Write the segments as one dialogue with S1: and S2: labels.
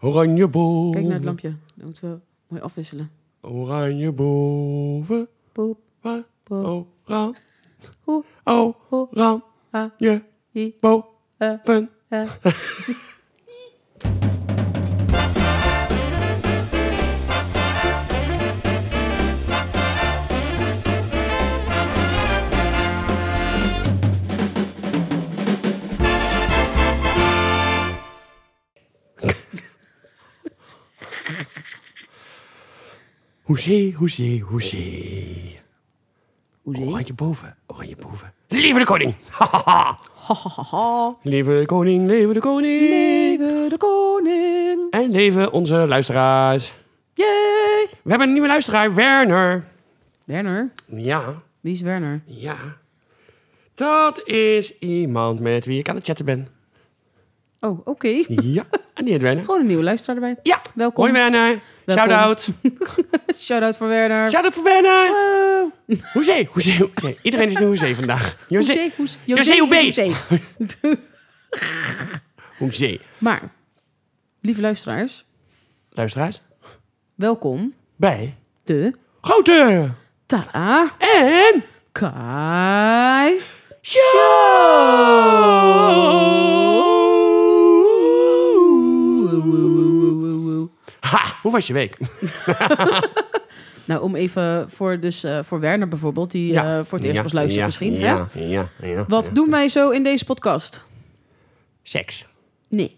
S1: Oranje boven.
S2: Kijk naar het lampje. Dan moeten we mooi afwisselen.
S1: Oranje boven.
S2: Poep,
S1: wa-
S2: poep,
S1: Oran.
S2: hoe,
S1: Oh.
S2: hoe,
S1: Ran.
S2: Ah.
S1: Je.
S2: hi, eh,
S1: Boven.
S2: eh.
S1: Hoezee, hoezee, hoezee.
S2: Hoezee?
S1: Oranje boven. Oranje boven. Lieve de koning.
S2: Ha, ha, ha, ha.
S1: Lieve de koning, leven de koning.
S2: Leven de koning.
S1: En leven onze luisteraars.
S2: Yay!
S1: We hebben een nieuwe luisteraar, Werner.
S2: Werner?
S1: Ja,
S2: Wie is Werner?
S1: ja. Dat is iemand met wie ik aan het chatten ben.
S2: Oh, oké.
S1: Ja, en die heet Werner.
S2: Gewoon een nieuwe luisteraar erbij.
S1: Ja,
S2: Welkom.
S1: hoi Werner.
S2: Welkom.
S1: Shout-out.
S2: Shout-out voor Werner.
S1: Shout-out voor Werner.
S2: Wow.
S1: Hoezee, hoezee, hoezee. Iedereen is een hoezee vandaag. José,
S2: Hoezee, hoezee.
S1: José,
S2: José
S1: hoezee.
S2: is José.
S1: hoezee.
S2: Maar, lieve luisteraars,
S1: Luisteraars,
S2: welkom
S1: bij
S2: de
S1: Grote
S2: Tara
S1: en
S2: Kai.
S1: Show. Ha, hoe was je week?
S2: Nou, om even voor, dus, eh, voor Werner bijvoorbeeld, die
S1: Ja.
S2: eh, voor het eerst
S1: Ja,
S2: was luisteren
S1: ja,
S2: misschien. hè?
S1: Ja, ja, ja.
S2: Wat doen wij zo in deze podcast?
S1: Seks.
S2: Nee,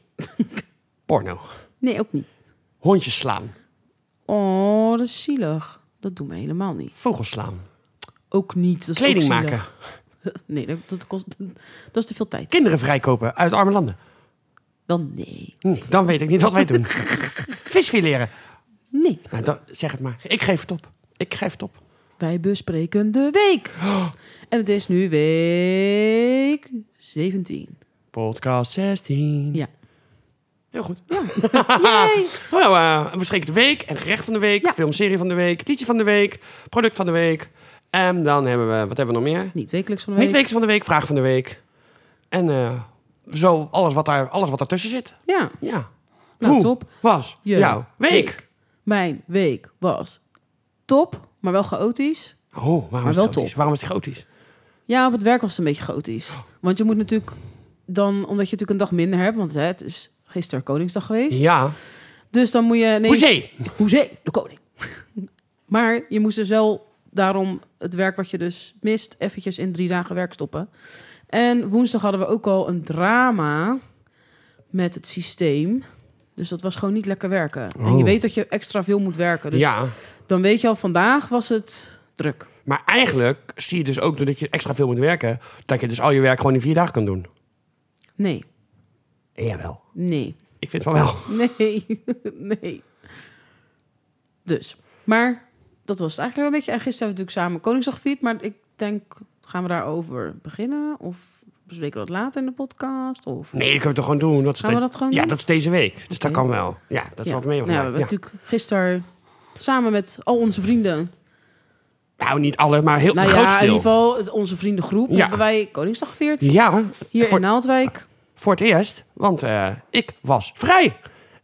S1: Porno.
S2: nee ook niet.
S1: Hondjes slaan.
S2: Oh, dat is zielig. Dat doen wij helemaal niet.
S1: Vogels slaan.
S2: Ook niet. Dat is
S1: Kleding
S2: ook zielig.
S1: maken.
S2: Nee, dat, dat kost, dat is te veel tijd.
S1: Kinderen vrijkopen uit arme landen.
S2: Wel nee.
S1: Hm, dan weet ik niet wat wij doen. Visfileren.
S2: Nee.
S1: Nou, dan, zeg het maar. Ik geef het op. Ik geef het op.
S2: Wij bespreken de week. En het is nu week 17.
S1: Podcast 16.
S2: Ja.
S1: Heel goed.
S2: Yay!
S1: Nou, eh, we bespreken de week en gerecht van de week,
S2: Ja.
S1: filmserie van de week, liedje van de week, product van de week. En dan hebben we, wat hebben we nog meer?
S2: Niet wekelijks van de week.
S1: Midweeks van de week, vraag van de week. En eh, zo alles wat, daar, alles wat daartussen zit.
S2: Ja.
S1: Ja.
S2: Nou,
S1: Hoe
S2: top.
S1: was
S2: Je
S1: jouw week?
S2: Mijn week was top, maar wel chaotisch.
S1: Oh, waarom is het
S2: wel
S1: chaotisch?
S2: top.
S1: Waarom is het chaotisch?
S2: Ja, op het werk was het een beetje chaotisch. Want je moet natuurlijk dan, omdat je natuurlijk een dag minder hebt, want hè, het is gisteren Koningsdag geweest.
S1: Ja.
S2: Dus dan moet je... ineens-
S1: Hoezee!
S2: Hoezee, de koning. maar je moest dus wel daarom het werk wat je dus mist... eventjes in drie dagen werk stoppen. En woensdag hadden we ook al een drama met het systeem. Dus dat was gewoon niet lekker werken. En
S1: Oh.
S2: je weet dat je extra veel moet werken. Dus
S1: Ja.
S2: dan weet je al, vandaag was het druk.
S1: Maar eigenlijk zie je dus ook, doordat je extra veel moet werken, dat je dus al je werk gewoon in vier dagen kan doen.
S2: Nee,
S1: Jawel.
S2: nee,
S1: Ik vind van wel.
S2: nee, nee. Dus, maar dat was het eigenlijk wel een beetje. En gisteren hebben we natuurlijk samen Koningsdag gevierd. Maar ik denk, gaan we daarover beginnen? Of bespreken we dat later in de podcast? Of
S1: Nee, dat kunnen we toch gewoon doen. Dat is
S2: gaan we
S1: de-
S2: dat gewoon
S1: Ja,
S2: doen?
S1: dat is deze week. Dus dat
S2: Oké.
S1: kan wel. Ja, dat is
S2: Ja.
S1: wat mee.
S2: Nou, we hebben
S1: ja.
S2: natuurlijk gisteren samen met al onze vrienden...
S1: Nou, niet alle, maar heel
S2: nou
S1: groot
S2: ja, in
S1: stil.
S2: ieder geval het- onze vriendengroep...
S1: Ja.
S2: hebben wij Koningsdag gevierd.
S1: Ja,
S2: Hier
S1: voor,
S2: in Naaldwijk.
S1: voor het eerst. Want eh, ik was vrij.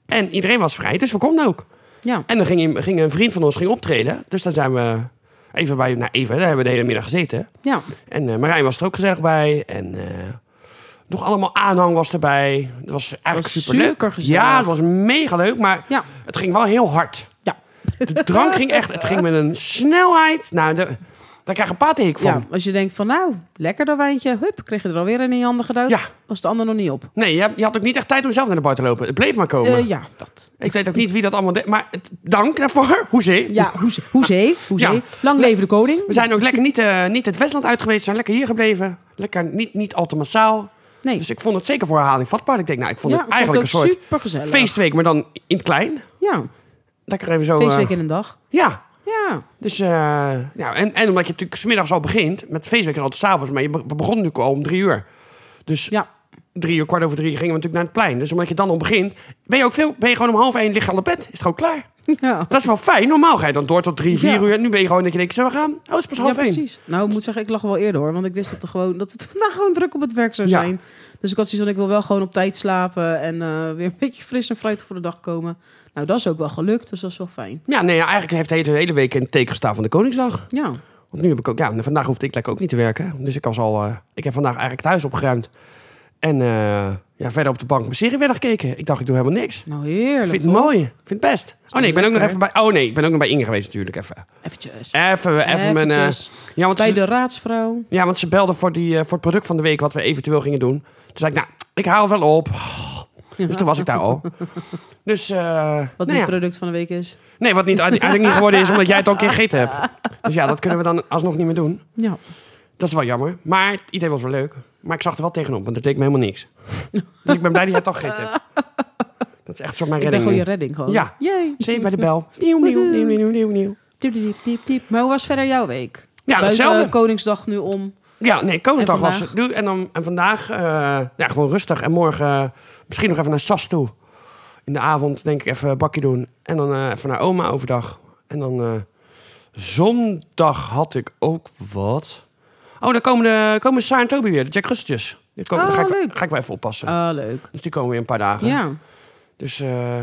S1: En iedereen was vrij, dus we konden ook.
S2: Ja,
S1: En dan ging, ging een vriend van ons ging optreden. Dus dan zijn we even bij... Nou, even, daar hebben we de hele middag gezeten.
S2: ja.
S1: En eh, Marijn was er ook gezellig bij. En eh, nog allemaal aanhang was erbij. Het was eigenlijk
S2: Was
S1: superleuk.
S2: supergezellig.
S1: Ja, het was mega leuk, maar
S2: Ja.
S1: het ging wel heel hard.
S2: Ja.
S1: De drank ging echt... Het ging met een snelheid. Nou, de, daar krijg ik een paatheek van.
S2: ja, als je denkt van nou, lekker dat wijntje. Hup, kreeg je er alweer een in je handen geduwd.
S1: Ja.
S2: Was de ander nog niet op.
S1: Nee, je, je had ook niet echt tijd om zelf naar de bar te lopen. Het bleef maar komen.
S2: Eh, ja, dat.
S1: Ik weet ook niet wie dat allemaal deed. Maar het- dank daarvoor. Hoezee.
S2: Ja, hoezee. hoezee, hoezee.
S1: Ja.
S2: Lang leven de koning.
S1: We zijn ook lekker niet, eh, niet het Westland uit geweest. We zijn lekker hier gebleven. Lekker niet, niet al te massaal.
S2: Nee,
S1: Dus ik vond het zeker voor herhaling vatbaar. Ik denk, nou, ik vond
S2: ja,
S1: het eigenlijk
S2: ook
S1: een soort
S2: supergezellig.
S1: feestweek, maar dan in het klein.
S2: Ja,
S1: Lekker even zo... eh,
S2: feestweek in een dag.
S1: ja.
S2: Ja,
S1: Dus, eh, ja, en, en omdat je natuurlijk smiddags al begint. Met feestweek is altijd s'avonds, maar je be- begon natuurlijk al om drie uur. Dus
S2: ja.
S1: drie uur, kwart over drie gingen we natuurlijk naar het plein. Dus omdat je dan al begint, ben je ook veel... Ben je gewoon om half één ligt al op bed. Is het gewoon klaar.
S2: Ja,
S1: Dat is wel fijn. Normaal ga je dan door tot drie, vier
S2: Ja.
S1: uur. En nu ben je gewoon dat je denkt, zullen we gaan? Oh, het is pas
S2: ja
S1: half één.
S2: precies. Nou, ik moet zeggen, ik lag wel eerder hoor. Want ik wist dat, er gewoon, dat het vandaag gewoon druk op het werk zou
S1: Ja.
S2: zijn. Dus ik had zoiets van, ik wil wel gewoon op tijd slapen en eh, weer een beetje fris en fruitig voor de dag komen. Nou, dat is ook wel gelukt, dus dat is wel fijn.
S1: Ja, nee, ja, eigenlijk heeft deze hele week in het teken gestaan van de Koningsdag.
S2: Ja,
S1: Want nu heb ik ook, ja, en vandaag hoefde ik lekker ook niet te werken. Dus ik was al, eh, ik heb vandaag eigenlijk thuis opgeruimd. En eh, ja, verder op de bank mijn serie verder gekeken. Ik dacht, ik doe helemaal niks.
S2: nou
S1: Ik
S2: heerlijk.
S1: vind het
S2: hoor.
S1: mooi. Ik vind het best. Oh nee, ik ben ook nog even bij, oh nee, ik ben ook nog bij Inge geweest natuurlijk. Even,
S2: Eventjes.
S1: even, even mijn, eh,
S2: Eventjes.
S1: ja, want
S2: Bij
S1: ze,
S2: de raadsvrouw.
S1: ja, want ze belden voor, die, eh, voor het product van de week wat we eventueel gingen doen. Toen zei ik, nou, ik hou wel op. Dus toen was ik daar al. Dus, eh,
S2: Wat
S1: nou
S2: het
S1: ja.
S2: product van de week is.
S1: Nee, wat niet, eigenlijk niet geworden is omdat jij het al een keer gegeten hebt. Dus ja, dat kunnen we dan alsnog niet meer doen.
S2: Ja.
S1: Dat is wel jammer. Maar het idee was wel leuk. Maar ik zag er wel tegenop, want het deed me helemaal niks. Dus ik ben blij dat jij het al gegeten hebt. Dat is echt zo mijn
S2: Ik ben
S1: redding.
S2: gewoon je
S1: nu.
S2: redding gewoon.
S1: Ja.
S2: Yay.
S1: Zeven bij de bel. Nieuw, nieuw, nieuw, nieuw, nieuw, nieuw.
S2: Diep, diep, diep, diep. Maar hoe was verder jouw week?
S1: Ja,
S2: Buiten
S1: hetzelfde.
S2: Koningsdag nu om.
S1: Ja, nee, Koningsdag
S2: En
S1: was
S2: vandaag?
S1: het. Nu- En, dan, en vandaag eh, ja, gewoon rustig. En morgen eh, misschien nog even naar Sas toe. In de avond denk ik even een bakje doen. En dan eh, even naar oma overdag. En dan eh, zondag had ik ook wat. Oh, dan komen, de, komen Saar en Toby weer. De Jack Rusteltjes. Die komen, daar
S2: Oh,
S1: ga ik,
S2: leuk.
S1: ga ik wel even oppassen.
S2: Ah, leuk.
S1: Dus die komen weer een paar dagen.
S2: Ja.
S1: Dus, eh,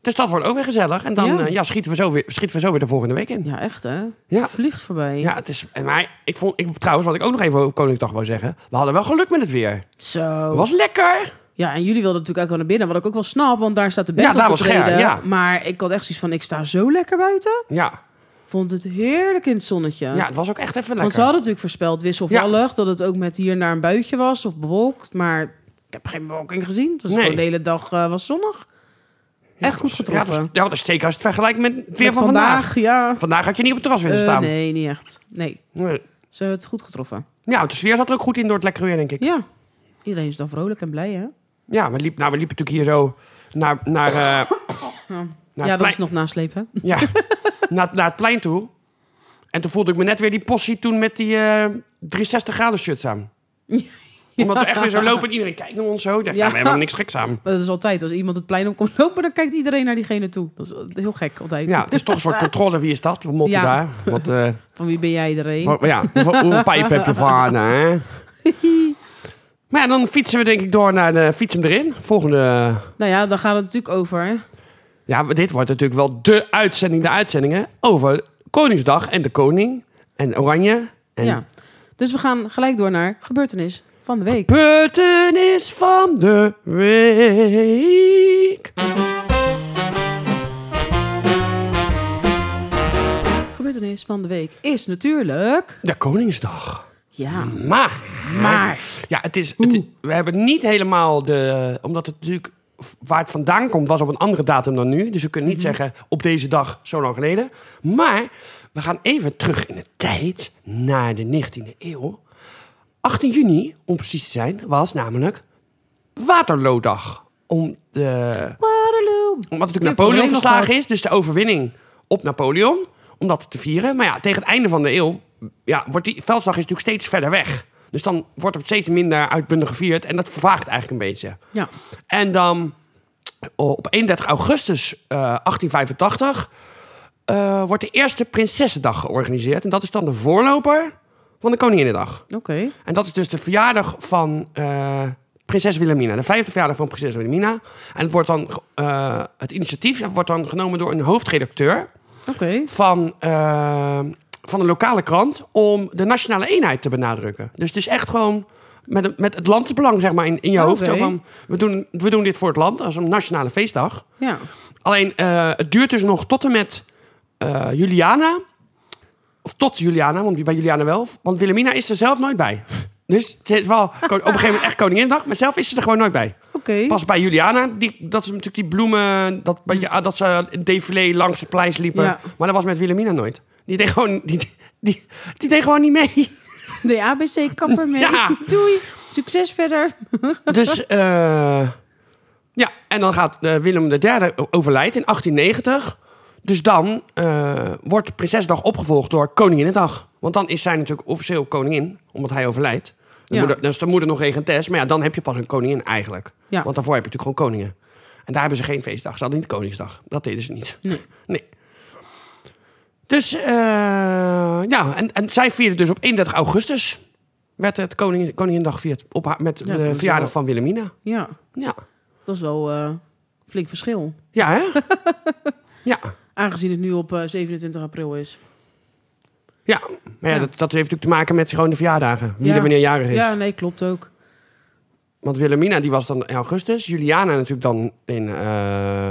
S1: dus dat wordt ook weer gezellig. En dan
S2: Ja.
S1: eh, ja, schieten, we zo weer, schieten we zo weer de volgende week in.
S2: Ja, echt hè?
S1: Ja.
S2: Vliegt voorbij.
S1: Ja, het is. en Maar ik vond, ik, trouwens, wat ik ook nog even op Koningsdag wou zeggen. We hadden wel geluk met het weer.
S2: Zo.
S1: Het was lekker.
S2: Ja, en jullie wilden natuurlijk ook wel naar binnen, wat ik ook wel snap, want daar staat de bed
S1: Ja,
S2: op
S1: daar
S2: te
S1: was Ger,
S2: treden.
S1: ja.
S2: Maar ik had echt zoiets van, ik sta zo lekker buiten.
S1: Ja.
S2: Vond het heerlijk in het zonnetje.
S1: ja, het was ook echt even
S2: want ze
S1: lekker.
S2: hadden natuurlijk voorspeld wisselvallig, dat het ook met hier naar een buitje was of bewolkt. Maar ik heb geen bewolking gezien. Dus
S1: Nee.
S2: gewoon de hele dag eh, was zonnig. echt goed
S1: Ja, dat
S2: getroffen.
S1: is, ja, dat is zeker als je het vergelijkt met het weer
S2: Met
S1: van vandaag. vandaag.
S2: ja.
S1: had je niet op het terras willen
S2: Eh,
S1: staan.
S2: nee, niet echt. Nee,
S1: Nee.
S2: ze hebben het goed getroffen.
S1: Ja, de sfeer zat er ook goed in door het lekker weer, denk ik. Ja,
S2: Ja, iedereen is dan vrolijk en blij, hè?
S1: we, liep, nou, we liepen natuurlijk hier zo naar, naar, eh, naar,
S2: ja,
S1: het,
S2: dat
S1: plein,
S2: is nog naslepen.
S1: ja, naar, naar het plein toe. En toen voelde ik me net weer die possie toen met die eh 360 graden shirts aan. Omdat we echt weer zo lopen en iedereen kijkt naar ons zo. Ik dacht,
S2: Ja.
S1: ja, we hebben niks geks aan.
S2: Maar dat is altijd, als iemand het plein op komt lopen, dan kijkt iedereen naar diegene toe. Dat is heel gek altijd.
S1: Ja, het is toch een soort controle. Wie is dat? We motten
S2: Ja.
S1: daar. Wat, eh,
S2: Van wie ben jij iedereen?
S1: wat- ja, hoeveel- hoeveel pijp heb je van, hè? Maar ja, dan fietsen we denk ik door naar de fietsen erin. Volgende...
S2: Nou ja, dan gaat het natuurlijk over.
S1: Ja, dit wordt natuurlijk wel de uitzending de uitzendingen over Koningsdag en de koning en Oranje. En
S2: Ja. Dus we gaan gelijk door naar gebeurtenis van de week.
S1: Beurtenis van de week.
S2: Gebeurtenis van de week is natuurlijk.
S1: De Koningsdag.
S2: Ja,
S1: Maar...
S2: maar.
S1: Ja, het is, het- we hebben niet helemaal de... Omdat het natuurlijk v- waar het vandaan komt was op een andere datum dan nu. Dus we kunnen niet zeggen op deze dag zo lang geleden. Maar we gaan even terug in de tijd naar de 19e eeuw. 18 juni, om precies te zijn, was namelijk Waterloodag. Om de,
S2: Waterloo.
S1: omdat
S2: Die
S1: natuurlijk
S2: hebben we
S1: Napoleon
S2: alleen nog
S1: verslagen
S2: gehad.
S1: is, dus de overwinning op Napoleon, om dat te vieren. Maar ja, tegen het einde van de eeuw ja, wordt die veldslag is natuurlijk steeds verder weg. Dus dan wordt het steeds minder uitbundig gevierd en dat vervaagt eigenlijk een beetje.
S2: Ja,
S1: En dan op 31 augustus eh, 1885 eh, wordt de eerste Prinsessendag georganiseerd. En dat is dan de voorloper van de Koninginnedag.
S2: oké.
S1: En dat is dus de verjaardag van eh, prinses Wilhelmina. De vijfde verjaardag van prinses Wilhelmina. En het, wordt dan, ge- eh, het initiatief wordt dan genomen door een hoofdredacteur
S2: Oké.
S1: van, eh, van een lokale krant... om de nationale eenheid te benadrukken. Dus het is echt gewoon met, een- met het landsbelang zeg maar, in, in je hoofd.
S2: Oké.
S1: Zo van, we, doen, we doen dit voor het land als een nationale feestdag.
S2: Ja.
S1: Alleen, eh, het duurt dus nog tot en met eh, Juliana. Of tot Juliana, want bij Juliana wel. Want Wilhelmina is er zelf nooit bij. Dus ze is wel op een gegeven moment echt koninginnedag. Maar zelf is ze er gewoon nooit bij.
S2: Oké.
S1: Pas bij Juliana, die, dat ze natuurlijk die bloemen... Dat, beetje, ah, dat ze een défilé langs het pleis liepen.
S2: Ja.
S1: Maar dat was met Wilhelmina nooit. Die deed gewoon, die, die, die deed gewoon niet mee.
S2: De ABC kapper mee.
S1: Ja.
S2: Doei. Succes verder.
S1: Dus, eh, ja, en dan gaat eh, Willem III overlijdt in 1890. Dus dan eh, wordt Prinsesdag opgevolgd door Koninginnedag. Want dan is zij natuurlijk officieel koningin, omdat hij overlijdt. De
S2: Ja.
S1: moeder, dus de moeder nog regentes. Maar ja, dan heb je pas een koningin eigenlijk.
S2: Ja.
S1: Want daarvoor heb je natuurlijk gewoon koningen. En daar hebben ze geen feestdag. Ze hadden niet Koningsdag. Dat deden ze niet.
S2: Nee.
S1: Nee. Dus, eh, ja, en, en zij vieren dus op 31 augustus. werd het koning, Koningindag gevierd op haar, met
S2: Ja, dat
S1: de
S2: is
S1: verjaardag van
S2: wel-
S1: Wilhelmina.
S2: Ja,
S1: Ja,
S2: dat is wel eh, flink verschil.
S1: ja hè? ja.
S2: Aangezien het nu op eh, 27 april is.
S1: Ja, maar ja,
S2: Ja.
S1: Dat, dat heeft natuurlijk te maken met gewoon de verjaardagen. Wie
S2: Ja.
S1: er wanneer jarig is.
S2: Ja, nee, klopt ook.
S1: Want Wilhelmina die was dan in augustus. Juliana natuurlijk dan in... eh,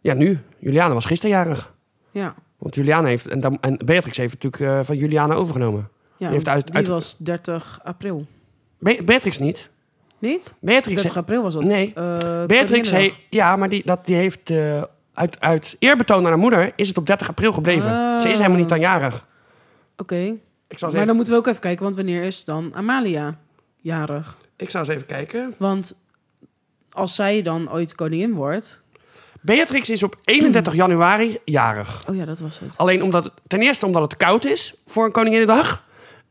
S1: Ja, nu. Juliana was gisteren jarig.
S2: Ja.
S1: Want Juliana heeft... En, dan, en Beatrix heeft natuurlijk eh, van Juliana overgenomen.
S2: ja
S1: heeft uit-
S2: die
S1: uit-
S2: was 30 april.
S1: Be- Beatrix niet.
S2: Niet?
S1: Beatrix,
S2: 30 april was dat.
S1: Nee.
S2: Eh,
S1: Beatrix
S2: Koninginnedag.
S1: heeft... Ja, maar die, dat, die heeft... eh, uit, uit eerbetoon aan haar moeder is het op 30 april gebleven.
S2: Ah.
S1: Ze is helemaal niet aan jarig.
S2: Oké,
S1: Ik zal,
S2: maar
S1: eens even,
S2: dan moeten we ook even kijken, want wanneer is dan Amalia jarig?
S1: ik zal eens even kijken.
S2: Want als zij dan ooit koningin wordt...
S1: Beatrix is op 31 januari jarig.
S2: Oh ja, dat was het.
S1: Alleen omdat het, ten eerste omdat het te koud is voor een Koninginnedag.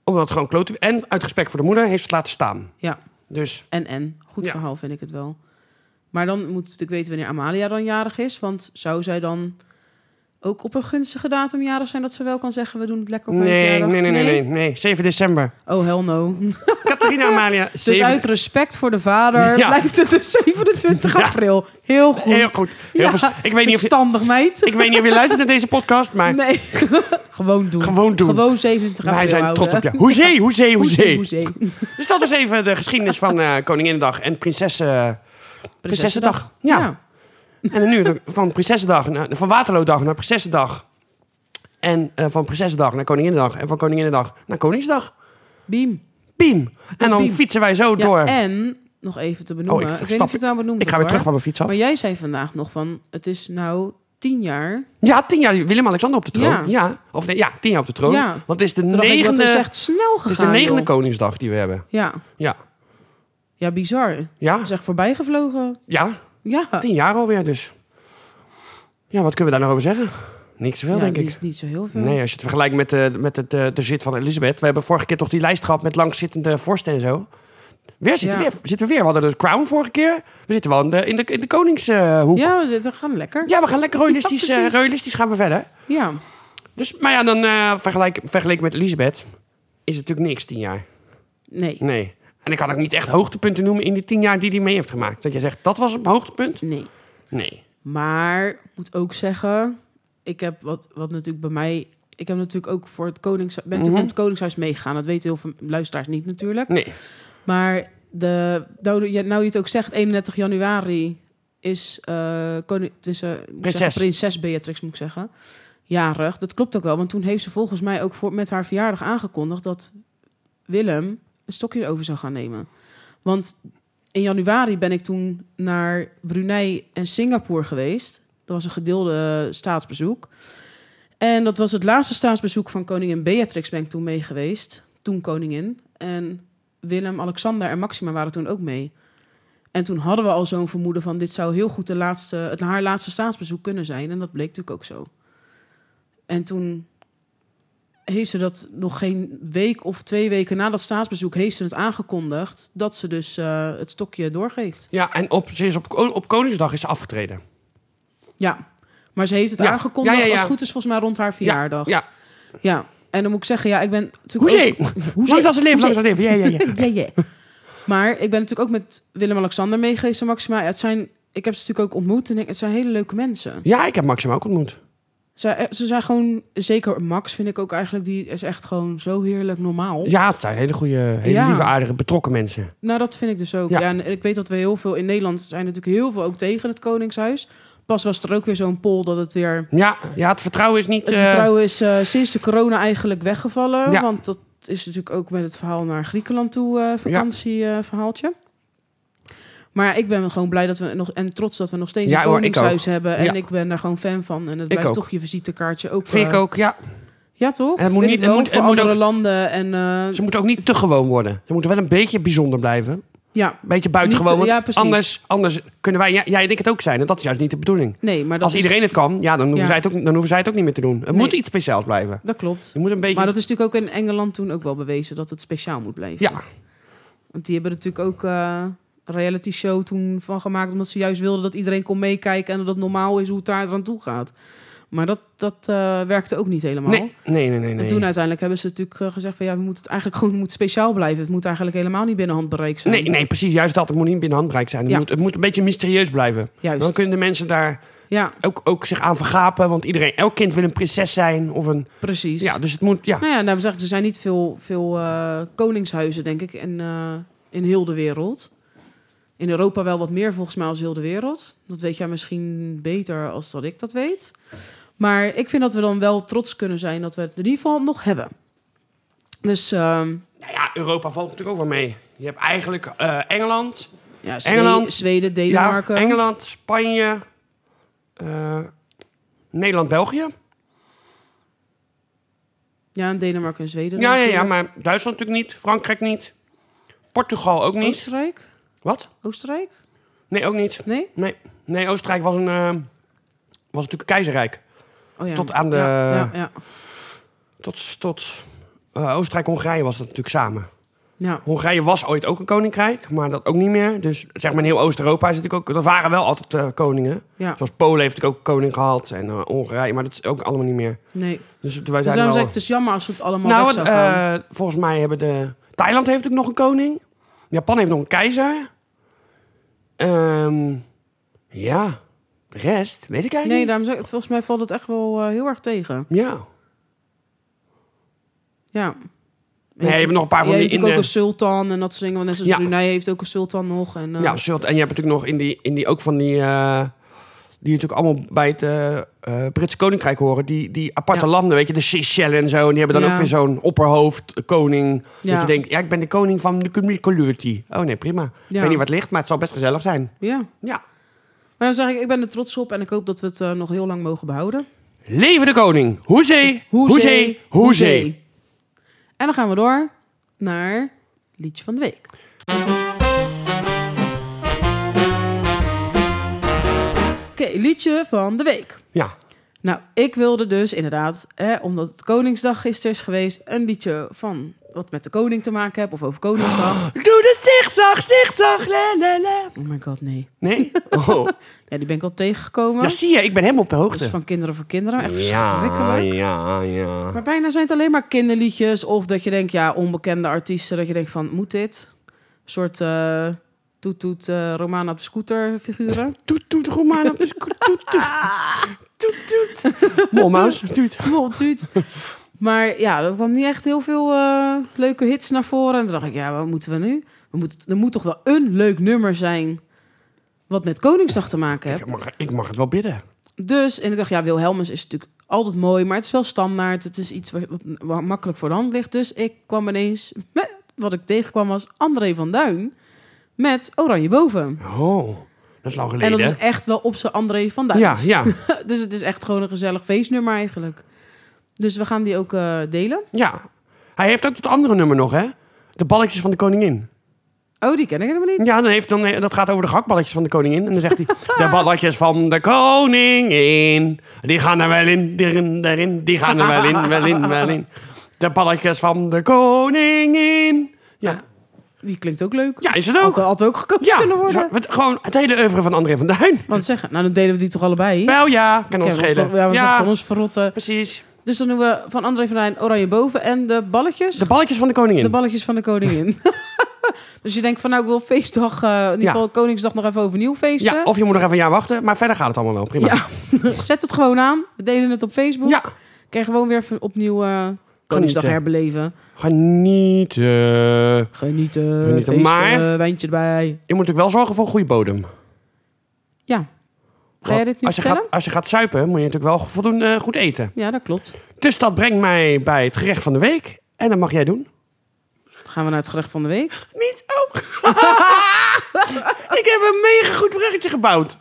S1: Omdat het gewoon klote... En uit respect voor de moeder heeft ze het laten staan.
S2: Ja,
S1: Dus
S2: en en. Goed
S1: Ja.
S2: verhaal vind ik het wel. Maar dan moet ik weten wanneer Amalia dan jarig is. Want zou zij dan ook op een gunstige datum jarig zijn... dat ze wel kan zeggen, we doen het lekker op mijn
S1: nee, nee,
S2: verjaardag?
S1: nee, nee, nee, nee. 7 december.
S2: Oh, hell no.
S1: Catharina Amalia,
S2: Dus
S1: 7
S2: uit respect voor de vader
S1: Ja.
S2: blijft het dus 27
S1: Ja.
S2: april. Heel goed.
S1: Heel goed. Heel
S2: Ja,
S1: vers- ik, weet niet of je,
S2: Verstandig, meid.
S1: ik weet niet of je luistert naar deze podcast, maar
S2: Nee. gewoon doen.
S1: gewoon doen.
S2: Gewoon 27 april
S1: Wij zijn
S2: houden.
S1: trots op je. Hoezee, hoezee,
S2: Hoezee,
S1: hoezee.
S2: hoezee.
S1: Dus dat was even de geschiedenis van eh Koninginnedag en Prinsessen... Prinsessendag. Ja. En nu de- van Prinsessendag naar, van Waterloodag naar Prinsessendag. En eh, van Prinsessendag naar Koninginnedag. En van Koninginnedag naar Koningsdag.
S2: Beam.
S1: Piem. En dan
S2: Piem.
S1: fietsen wij zo
S2: Ja,
S1: door.
S2: en, nog even te benoemen.
S1: Oh, ik
S2: ik, weet niet
S1: stap-
S2: of je het nou benoemd
S1: Ik ga
S2: hebt,
S1: weer terug
S2: hoor.
S1: van mijn fiets af.
S2: Maar jij zei vandaag nog van, het is nou 10 jaar.
S1: Ja, tien jaar Willem-Alexander op de troon. Ja.
S2: Ja.
S1: Of nee, ja, tien jaar op de troon.
S2: Ja.
S1: Want het is de
S2: Toen dacht ik, dat
S1: negende,
S2: is echt snel gegaan.
S1: het is de negende
S2: joh.
S1: Koningsdag die we hebben.
S2: Ja.
S1: Ja.
S2: ja, bizar. Het
S1: Ja,
S2: is echt voorbijgevlogen.
S1: ja,
S2: Ja.
S1: tien jaar alweer dus. Ja, wat kunnen we daar nou over zeggen? Niks te veel,
S2: Ja, Hm.
S1: denk ik.
S2: niet, Niet zo heel veel.
S1: Nee, als je het vergelijkt met, eh, met het, eh, de zit van Elisabeth. We hebben vorige keer toch die lijst gehad met langzittende vorsten en zo. Weer zitten,
S2: Ja.
S1: we weer, zitten we weer. We hadden de crown vorige keer. We zitten wel in de, in de, in de koningshoek. Ja.
S2: Ja, we zitten, gaan lekker.
S1: we gaan lekker realistisch,
S2: Ja,
S1: eh,
S2: precies.
S1: realistisch gaan we verder.
S2: ja.
S1: Dus, maar ja, dan eh, vergelijk, vergeleken met Elisabeth is het natuurlijk niks, tien jaar.
S2: Nee.
S1: Nee. En ik kan ook niet echt hoogtepunten noemen in die tien jaar die hij mee heeft gemaakt. Dat jij zegt, dat was een hoogtepunt?
S2: Nee.
S1: Nee.
S2: Maar ik moet ook zeggen, ik heb wat, wat natuurlijk bij mij. Ik heb natuurlijk ook voor het Koningshuis, ben natuurlijk
S1: Mhm.
S2: op het Koningshuis meegegaan. Dat weten heel veel luisteraars niet natuurlijk.
S1: Nee.
S2: Maar de, nou, je- nou je het ook zegt, 31 januari is eh koning, het is, eh, ik moet
S1: Prinses.
S2: zeggen, prinses Beatrix, moet ik zeggen. Jarig. Dat klopt ook wel. Want toen heeft ze volgens mij ook voor, met haar verjaardag aangekondigd dat Willem een stokje over zou gaan nemen. Want in januari ben ik toen naar Brunei en Singapore geweest. Dat was een gedeelde eh, staatsbezoek. En dat was het laatste staatsbezoek van koningin Beatrix ben ik toen mee geweest. Toen koningin. En Willem, Alexander en Maxima waren toen ook mee. En toen hadden we al zo'n vermoeden van... dit zou heel goed de laatste, het, haar laatste staatsbezoek kunnen zijn. En dat bleek natuurlijk ook zo. En toen heeft ze dat nog geen week of twee weken na dat staatsbezoek... heeft ze het aangekondigd dat ze dus eh, het stokje doorgeeft.
S1: Ja, en op, ze is op, op Koningsdag is ze afgetreden.
S2: Ja, maar ze heeft het
S1: Ja.
S2: aangekondigd
S1: Ja, ja, ja.
S2: als het goed is volgens mij rond haar verjaardag.
S1: Ja.
S2: Ja, en dan moet ik zeggen, ja, ik ben natuurlijk
S1: Hoezee!
S2: ook-
S1: Langs als ze leven, langs als ze leven. Ja, ja, ja.
S2: ja, ja. Maar ik ben natuurlijk ook met Willem-Alexander mee geweest en Maxima. Ja, het zijn, ik heb ze natuurlijk ook ontmoet en ik- het zijn hele leuke mensen.
S1: Ja, ik heb Maxima ook ontmoet.
S2: Ze, eh, ze zijn gewoon, zeker Max vind ik ook eigenlijk, die is echt gewoon zo heerlijk normaal.
S1: Ja, het zijn hele goede, hele
S2: Ja.
S1: lieve, aardige, betrokken mensen.
S2: Nou, dat vind ik dus ook.
S1: Ja.
S2: Ja. en ik weet dat we heel veel in Nederland zijn natuurlijk heel veel ook tegen het Koningshuis. Pas was er ook weer zo'n poll dat het weer
S1: Ja, ja het vertrouwen is niet...
S2: Het
S1: eh,
S2: vertrouwen is eh, sinds de corona eigenlijk weggevallen.
S1: Ja.
S2: Want dat is natuurlijk ook met het verhaal naar Griekenland toe, eh vakantieverhaaltje. Maar ik ben gewoon blij dat we nog en trots dat we nog steeds
S1: Ja,
S2: een
S1: hoor, ik
S2: koningshuis hebben. En
S1: Ja.
S2: ik ben daar gewoon fan van. En het blijft
S1: ook.
S2: toch je visitekaartje ook.
S1: Vind
S2: eh,
S1: ik ook, ja.
S2: Ja, toch?
S1: En het moet
S2: Vind
S1: niet-
S2: ik
S1: het
S2: wel,
S1: moet- het
S2: voor
S1: moet
S2: andere
S1: ook-
S2: landen. En, eh,
S1: Ze moeten ook niet te gewoon worden. Ze moeten wel een beetje bijzonder blijven. Een
S2: ja,
S1: beetje buitengewoon.
S2: Niet te-
S1: want
S2: ja, precies.
S1: anders, anders kunnen wij... Ja, jij en ik het ook zijn. En dat is juist niet de bedoening.
S2: nee, maar dat
S1: Als
S2: is-
S1: iedereen het kan, ja, dan hoeven,
S2: Ja.
S1: Zij, het ook, dan hoeven zij het ook niet meer te doen. Het
S2: Nee.
S1: moet iets speciaals blijven.
S2: Dat klopt.
S1: Je moet een beetje...
S2: Maar dat is natuurlijk ook in Engeland toen ook wel bewezen dat het speciaal moet blijven.
S1: Ja,
S2: Want die hebben er natuurlijk ook eh, een reality show toen van gemaakt. Omdat ze juist wilden dat iedereen kon meekijken. En dat het normaal is hoe het daar aan toe gaat. Maar dat, dat eh, werkte ook niet helemaal.
S1: Nee, nee, nee, nee. nee.
S2: En toen uiteindelijk hebben ze natuurlijk eh, gezegd van ja, we moeten het eigenlijk gewoon het moet speciaal blijven. Het moet eigenlijk helemaal niet binnen handbereik zijn.
S1: Nee, nee, precies. Juist dat. Het moet niet binnen handbereik zijn. Het,
S2: Ja.
S1: moet, het moet een beetje mysterieus blijven.
S2: Juist.
S1: Dan kunnen de mensen daar
S2: Ja,
S1: ook, ook zich aan vergapen. Want iedereen, elk kind wil een prinses zijn. Of een,
S2: precies.
S1: ja, dus het moet... Ja,
S2: Nou ja, nou, zeg ik, er zijn niet veel, veel eh, koningshuizen, denk ik, in, eh, in heel de wereld. In Europa wel wat meer, volgens mij, als heel de wereld. Dat weet jij misschien beter als dat ik dat weet. Maar ik vind dat we dan wel trots kunnen zijn dat we het in ieder geval nog hebben. Dus ehm,
S1: nou ja Europa valt natuurlijk ook wel mee. Je hebt eigenlijk eh, Engeland.
S2: ja, Zwe-
S1: Engeland.
S2: Zweden, Denemarken.
S1: Ja, Engeland, Spanje. eh, Nederland, België.
S2: Ja, en Denemarken en Zweden.
S1: Ja, ja, ja,
S2: natuurlijk.
S1: maar Duitsland natuurlijk niet. Frankrijk niet. Portugal ook niet.
S2: Oostenrijk?
S1: Wat?
S2: Oostenrijk?
S1: Nee, ook niet.
S2: Nee?
S1: Nee, nee Oostenrijk was, een, eh, was natuurlijk een keizerrijk.
S2: Oh, ja.
S1: Tot aan de-
S2: Ja, ja, ja.
S1: Tot, tot eh, Oostenrijk-Hongarije was dat natuurlijk samen.
S2: ja.
S1: Hongarije was ooit ook een koninkrijk, maar dat ook niet meer. Dus zeg maar in heel Oost-Europa is natuurlijk ook... Er waren wel altijd eh, koningen.
S2: Ja.
S1: Zoals Polen heeft natuurlijk ook koning gehad en eh, Hongarije. Maar dat is ook allemaal niet meer.
S2: Nee.
S1: Dus wij
S2: Dus
S1: zijn
S2: daarom
S1: wel...
S2: zeg ik, het is jammer als het allemaal
S1: nou,
S2: weg zou gaan.
S1: eh, volgens mij hebben de... Thailand heeft ook nog een koning. Japan heeft nog een keizer. Ehm, ja, de rest weet ik eigenlijk
S2: Nee,
S1: niet.
S2: daarom zeg ik, het- volgens mij valt het echt wel eh, heel erg tegen.
S1: Ja.
S2: Ja.
S1: Nee, je hebt nog een paar van
S2: Jij
S1: die...
S2: hebt natuurlijk ook
S1: in de-
S2: een sultan en dat soort dingen. Want net zoals
S1: Ja.
S2: Brunei heeft ook een sultan nog. En, eh,
S1: Ja, Sult. En je hebt natuurlijk nog in die, in die ook van die. eh, die natuurlijk allemaal bij het eh, eh, Britse Koninkrijk horen. Die, die aparte
S2: Ja.
S1: landen, weet je, de Seychellen en zo. En die hebben dan
S2: Ja.
S1: ook weer zo'n opperhoofd, eh, koning.
S2: Ja.
S1: Dat je denkt, ja, ik ben de koning van de community. Oh nee, prima. Ik
S2: Ja.
S1: weet niet wat ligt, maar het zal best gezellig zijn.
S2: ja.
S1: Ja.
S2: Maar dan zeg ik, ik ben er trots op en ik hoop dat we het eh, nog heel lang mogen behouden.
S1: Leven de koning! Hoezee! Hoezee! Hoezee!
S2: En dan gaan we door naar liedje van de week. Oké, liedje van de week.
S1: Ja.
S2: Nou, ik wilde dus inderdaad, hè, omdat het Koningsdag gisteren is geweest, een liedje van wat met de koning te maken heeft of over Koningsdag.
S1: Doe de zigzag, zigzag, la la la.
S2: Oh my god, nee.
S1: Nee? Oh.
S2: Ja, die ben ik al tegengekomen.
S1: Ja,
S2: Dat
S1: zie je, ik ben helemaal op de
S2: is
S1: hoogte.
S2: van kinderen voor kinderen. Echt
S1: Ja,
S2: verschrikkelijk.
S1: ja, ja.
S2: Maar bijna zijn het alleen maar kinderliedjes of dat je denkt, ja, onbekende artiesten, dat je denkt van, moet dit? Een soort eh toet toet eh Romana op de scooter figuren.
S1: Toet, toet, Romaan op de sco- Toet, toet. Toet, toet. Molmaus, toet.
S2: Bijvoorbeeld Tuut. Maar ja, er kwam niet echt heel veel eh, leuke hits naar voren. En toen dacht ik, ja, wat moeten we nu? We moeten, er moet toch wel een leuk nummer zijn wat met Koningsdag te maken heeft.
S1: Ik mag, ik mag het wel bidden.
S2: Dus, en ik dacht, ja, Wilhelmus is natuurlijk altijd mooi, maar het is wel standaard. Het is iets wat, wat- wat makkelijk voor de hand ligt. Dus ik kwam ineens, met, wat ik tegenkwam was André van Duin met Oranje Boven.
S1: Oh, dat is lang
S2: En
S1: geleden.
S2: dat is echt wel op zijn André van Duin.
S1: ja, ja,
S2: Dus het is echt gewoon een gezellig feestnummer eigenlijk. Dus we gaan die ook eh, delen.
S1: ja. Hij heeft ook dat andere nummer nog, hè? De balletjes van de koningin.
S2: Oh, die ken ik helemaal niet.
S1: Ja, dan heeft, dan, dat gaat over de gehaktballetjes van de koningin. En dan zegt hij... de balletjes van de koningin. Die gaan er wel in, daarin, daarin. Die gaan er wel in, wel in, wel in. De balletjes van de koningin. Ja,
S2: Die klinkt ook leuk.
S1: ja is het ook?
S2: Had, had ook gekozen
S1: Ja,
S2: kunnen worden.
S1: zo- wat- gewoon het hele oeuvre van André van Duin.
S2: Want zeggen, nou dan delen we die toch allebei.
S1: Wel ja, kan
S2: Ken
S1: ons
S2: ons
S1: schelen.
S2: ver- Ja, we zeggen, kan ons verrotten.
S1: precies.
S2: Dus dan doen we van André van Duin Oranje Boven en de balletjes.
S1: De balletjes van de koningin.
S2: De balletjes van de koningin. dus je denkt van nou, ik wil feestdag, eh, in ieder
S1: Ja.
S2: geval Koningsdag nog even overnieuw feesten.
S1: ja, of je moet nog even een jaar wachten, maar verder gaat het allemaal wel prima.
S2: Ja. Zet het gewoon aan. We delen het op Facebook.
S1: Ja.
S2: Kan je gewoon weer even opnieuw eh, Koningsdag
S1: Genieten.
S2: herbeleven.
S1: Genieten.
S2: Genieten,
S1: Genieten.
S2: feesten,
S1: Maar-
S2: eh, wijntje erbij.
S1: Je moet natuurlijk wel zorgen voor een goede bodem.
S2: Ja. Ga jij
S1: Want
S2: dit nu
S1: als je,
S2: vertellen?
S1: gaat, als je gaat suipen, moet je natuurlijk wel voldoende eh, goed eten.
S2: Ja, dat klopt.
S1: Dus dat brengt mij bij het gerecht van de week. En dat mag jij doen.
S2: Dan gaan we naar het gerecht van de week.
S1: Niet ook.
S2: Oh.
S1: Ik heb een mega goed bruggetje gebouwd.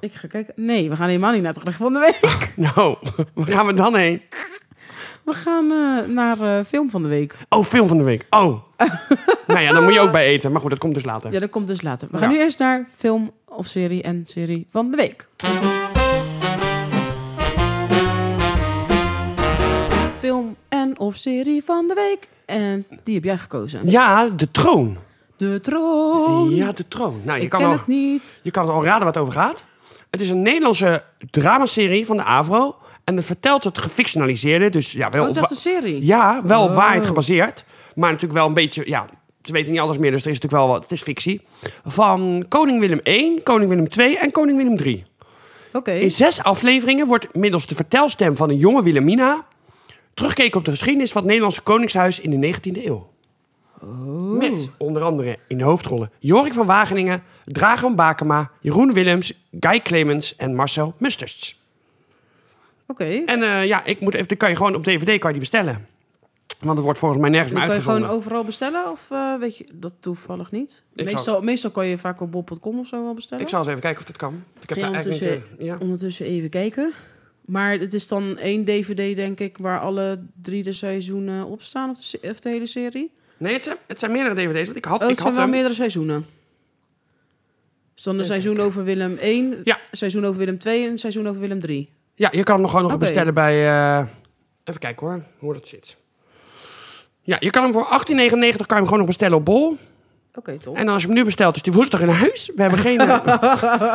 S2: Ik ga kijken. Nee, we gaan helemaal niet naar het gerecht van de week.
S1: Nou, waar gaan we dan heen?
S2: We gaan eh, naar eh, film van de week.
S1: Oh, film van de week. Oh. nou ja, dan moet je ook bij eten. Maar goed, dat komt dus later.
S2: Ja, dat komt dus later. We gaan
S1: Ja.
S2: nu eerst naar film of serie en serie van de week. Film en of serie van de week. En die heb jij gekozen.
S1: Ja, de troon.
S2: De troon.
S1: Ja, de troon. Nou, je
S2: ik
S1: kan
S2: ken
S1: al...
S2: het niet.
S1: Je kan al raden waar het over gaat. Het is een Nederlandse dramaserie van de AVRO. En het vertelt het gefictionaliseerde, dus ja, wel
S2: Oh,
S1: op
S2: het is echt
S1: wa-
S2: een serie.
S1: ja, wel op
S2: Oh.
S1: waarheid gebaseerd. Maar natuurlijk wel een beetje, ja, ze weten niet alles meer, dus er is natuurlijk wel wat, het is fictie. Van Koning Willem I, Koning Willem II en Koning Willem III.
S2: Oké.
S1: In zes afleveringen wordt middels de vertelstem van een jonge Wilhelmina teruggekeken op de geschiedenis van het Nederlandse Koningshuis in de 19e eeuw.
S2: Oh.
S1: Met onder andere in de hoofdrollen Jorik van Wageningen, Dragan Bakema, Jeroen Willems, Guy Clemens en Marcel Musters.
S2: Oké.
S1: En eh, ja, ik moet even, die kan je gewoon op DVD kan je die bestellen. Want het wordt volgens mij nergens meer
S2: Dan kan je gewoon
S1: uitgezonden.
S2: overal bestellen? Of eh, weet je, dat toevallig niet?
S1: Ik
S2: Meestal, meestal kan je vaak op bol.com of zo wel bestellen.
S1: Ik zal eens even kijken of dat kan. Ik heb daar
S2: Geen
S1: eigenlijk niet,
S2: ondertussen-
S1: eh, ja.
S2: Ondertussen even kijken. Maar het is dan één DVD, denk ik, waar alle drie de seizoenen op staan. Of de, se- of de hele serie.
S1: Nee, het zijn, het zijn meerdere DVD's. Want ik had,
S2: Oh, het
S1: ik
S2: zijn
S1: had
S2: wel
S1: hem.
S2: meerdere seizoenen. Dus dan een
S1: Even
S2: seizoen over Willem 1,
S1: Ja.
S2: een seizoen over Willem 2 en een seizoen over Willem 3.
S1: Ja, je kan hem nog gewoon nog
S2: Oké.
S1: bestellen bij... eh, even kijken hoor, hoe dat zit. Ja, je kan hem voor 18,99 kan je hem gewoon nog bestellen op Bol.
S2: Oké, top.
S1: En als je hem nu bestelt, is die woensdag in huis. We hebben, geen, eh,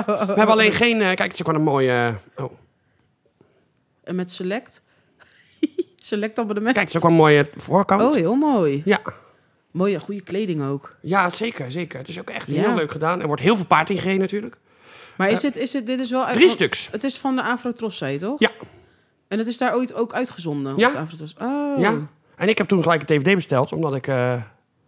S1: we hebben alleen geen... eh, kijk, het is ook wel een mooie... eh, oh,
S2: En met Select. select abonnement.
S1: kijk, het is ook wel een mooie voorkant.
S2: Oh, heel mooi.
S1: Ja.
S2: Mooie, goede kleding ook.
S1: ja, zeker, zeker. Het is ook echt
S2: Ja.
S1: heel leuk gedaan. Er wordt heel veel paard ingereden natuurlijk.
S2: Maar is
S1: Eh,
S2: dit, is dit, dit is wel... uit-
S1: Drie
S2: want
S1: stuks.
S2: Het is van de Afro-Trossei, toch?
S1: Ja.
S2: En het is daar ooit ook uitgezonden? op
S1: Ja.
S2: de Afro-Tros? Oh.
S1: Ja. En ik heb toen gelijk een DVD besteld, omdat ik, eh,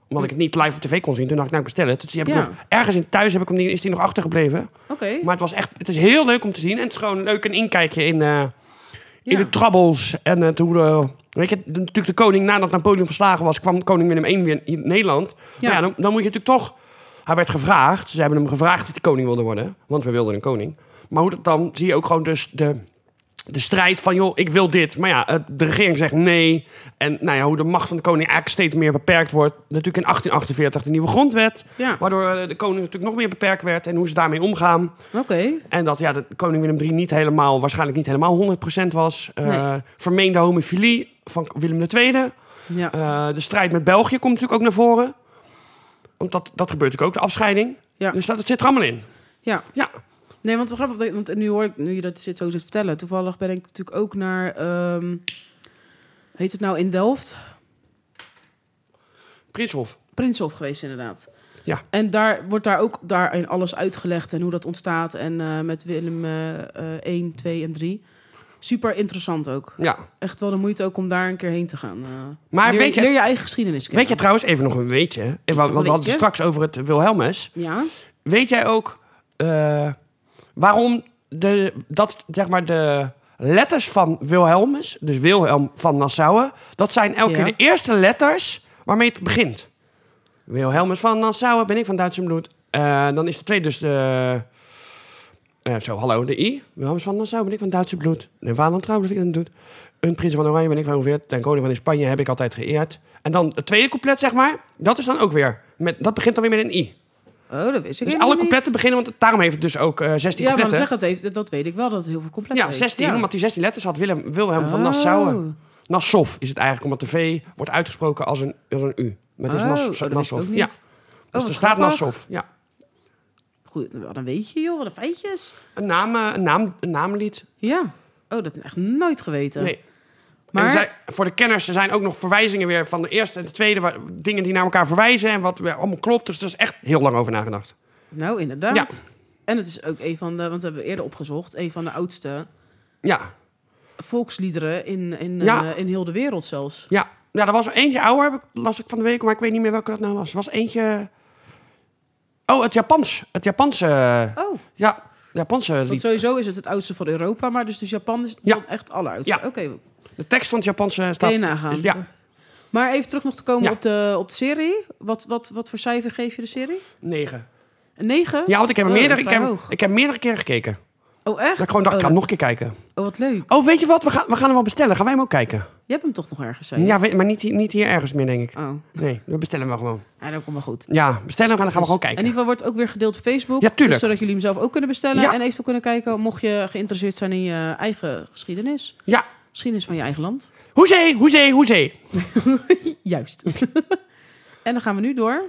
S1: omdat ik het niet live op tv kon zien. Toen dacht ik, nou, ik bestel het. Dus die heb ik
S2: Ja.
S1: nog, ergens in thuis heb ik hem, die- is die nog achtergebleven.
S2: Oké.
S1: Maar het was echt, het is heel leuk om te zien. En het is gewoon leuk een inkijkje in, eh, in
S2: Ja.
S1: de trabbels. En eh, hoe de, weet je, de- natuurlijk de koning nadat Napoleon verslagen was, kwam koning Willem I weer in Nederland. Ja,
S2: Ja.
S1: ja dan, dan moet je natuurlijk toch, hij werd gevraagd, ze hebben hem gevraagd of hij koning wilde worden, want we wilden een koning. Maar hoe dat dan, zie je ook gewoon dus de, de strijd van, joh, ik wil dit. Maar ja, eh, de regering zegt nee. En nou ja, hoe de macht van de koning eigenlijk steeds meer beperkt wordt. Natuurlijk in 1848 de nieuwe grondwet,
S2: Ja,
S1: waardoor eh, de koning natuurlijk nog meer beperkt werd en hoe ze daarmee omgaan.
S2: oké.
S1: En dat ja, dat koning Willem III niet helemaal, waarschijnlijk niet helemaal 100% was. Eh,
S2: Nee.
S1: Vermeende homofilie van Willem II.
S2: Ja.
S1: Eh, de strijd met België komt natuurlijk ook naar voren. Want dat, dat gebeurt natuurlijk ook, de afscheiding.
S2: Ja.
S1: Dus dat, het zit er allemaal in.
S2: Ja.
S1: Ja.
S2: Nee, want het is grappig, dat- want nu hoor ik, nu je dat zit zo zit te vertellen, toevallig ben ik natuurlijk ook naar, ehm, heet het nou in Delft?
S1: Prinshof.
S2: Prinshof geweest inderdaad.
S1: Ja.
S2: En daar wordt daar ook daarin alles uitgelegd en hoe dat ontstaat en eh, met Willem eh eh 1, 2 en 3. Super interessant ook.
S1: Ja.
S2: Echt wel de moeite ook om daar een keer heen te gaan. eh.
S1: Maar
S2: leer,
S1: weet je-
S2: leer je eigen geschiedenis kennen.
S1: Weet je trouwens, even nog een weetje. hè? Even, want we hadden het
S2: Weetje?
S1: straks over het Wilhelmus.
S2: Ja.
S1: Weet jij ook eh, waarom de, dat, zeg maar, de letters van Wilhelmus, dus Wilhelm van Nassau, dat zijn elke
S2: Ja.
S1: keer de eerste letters waarmee het begint? Wilhelmus van Nassau, ben ik van Duitse bloed. Eh, dan is de tweede dus de... eh, zo, hallo, de I. Wilhelmus van Nassau, ben ik van Duitse bloed. De Vaderland trouw, dat ik dat doet. Een prins van Oranje ben ik van ongeveerd. Ten koning van in Spanje heb ik altijd geëerd. En dan het tweede couplet, zeg maar. Dat is dan ook weer... Met, dat begint dan weer met een I.
S2: Oh, dat wist ik
S1: Dus
S2: helemaal
S1: alle
S2: niet.
S1: coupletten beginnen, want daarom heeft het dus ook eh, 16
S2: Ja, maar
S1: coupletten.
S2: zeg dat even, dat weet ik wel, dat het heel veel compleet
S1: ja, 16, omdat die 16 letters had Willem, Wilhelm van Nassau.
S2: Nassau.
S1: Nassau is het eigenlijk, omdat de V wordt uitgesproken als een, als een U. Maar het is
S2: Oh,
S1: Nas-
S2: oh, dat wist ik
S1: Nassau.
S2: ook niet.
S1: Ja,
S2: Oh,
S1: dus
S2: wat
S1: er staat
S2: grappig.
S1: Nassau. Ja.
S2: Goed, nou, dan weet je joh, wat een feitjes.
S1: Een, naam, eh, een, naam, een naamlied.
S2: Ja. Oh, dat heb ik echt nooit geweten.
S1: Nee. Maar...
S2: Maar,
S1: En zij- voor de kenners er zijn ook nog verwijzingen weer van de eerste en de tweede. Waar, dingen die naar elkaar verwijzen en wat weer allemaal klopt. Dus er is echt heel lang over nagedacht.
S2: nou inderdaad. En het is ook een van de, want we hebben eerder opgezocht, een van de oudste
S1: Ja,
S2: volksliederen in, in,
S1: Ja.
S2: eh, in heel de wereld zelfs.
S1: ja. ja er was er eentje ouder, heb ik, las ik van de week. Maar ik weet niet meer welke dat nou was. Er was eentje... Oh, het Japans. Het Japanse...
S2: Oh,
S1: Ja, het Japanse
S2: want
S1: lied.
S2: sowieso is het het oudste van Europa, maar dus, dus Japan is
S1: Ja.
S2: dan echt het alleroudste.
S1: Ja.
S2: Oké,
S1: De tekst van het Japanse
S2: kan je
S1: staat...
S2: nagaan.
S1: is- ja.
S2: Maar even terug nog te komen
S1: Ja.
S2: op, de, op de serie. Wat, wat, wat voor cijfer geef je de serie?
S1: 9.
S2: Een 9?
S1: Ja, want ik heb,
S2: Oh,
S1: meerdere, ik,
S2: vrij
S1: heb,
S2: hoog.
S1: ik heb meerdere keren gekeken.
S2: Oh, echt?
S1: Dat ik gewoon dacht, ik
S2: oh,
S1: ga hem nog een keer kijken.
S2: oh, wat leuk.
S1: Oh, weet je wat? We gaan, we gaan hem wel bestellen. Gaan wij hem ook kijken?
S2: Je hebt hem toch nog ergens, zei je?
S1: Ja, weet- maar niet, hier- niet hier ergens meer, denk ik.
S2: Oh,
S1: Nee, we bestellen hem wel gewoon.
S2: ja, dat komt wel goed.
S1: Ja, bestellen hem en dan gaan we gewoon
S2: Dus
S1: kijken.
S2: In ieder geval wordt ook weer gedeeld op Facebook.
S1: Ja, tuurlijk.
S2: Dus zodat jullie hem zelf ook kunnen bestellen.
S1: Ja.
S2: En eventueel kunnen kijken mocht je geïnteresseerd zijn in je eigen geschiedenis.
S1: Ja.
S2: Geschiedenis van je eigen land.
S1: Hoezee, hoezee, hoezee.
S2: Juist. en dan gaan we nu door.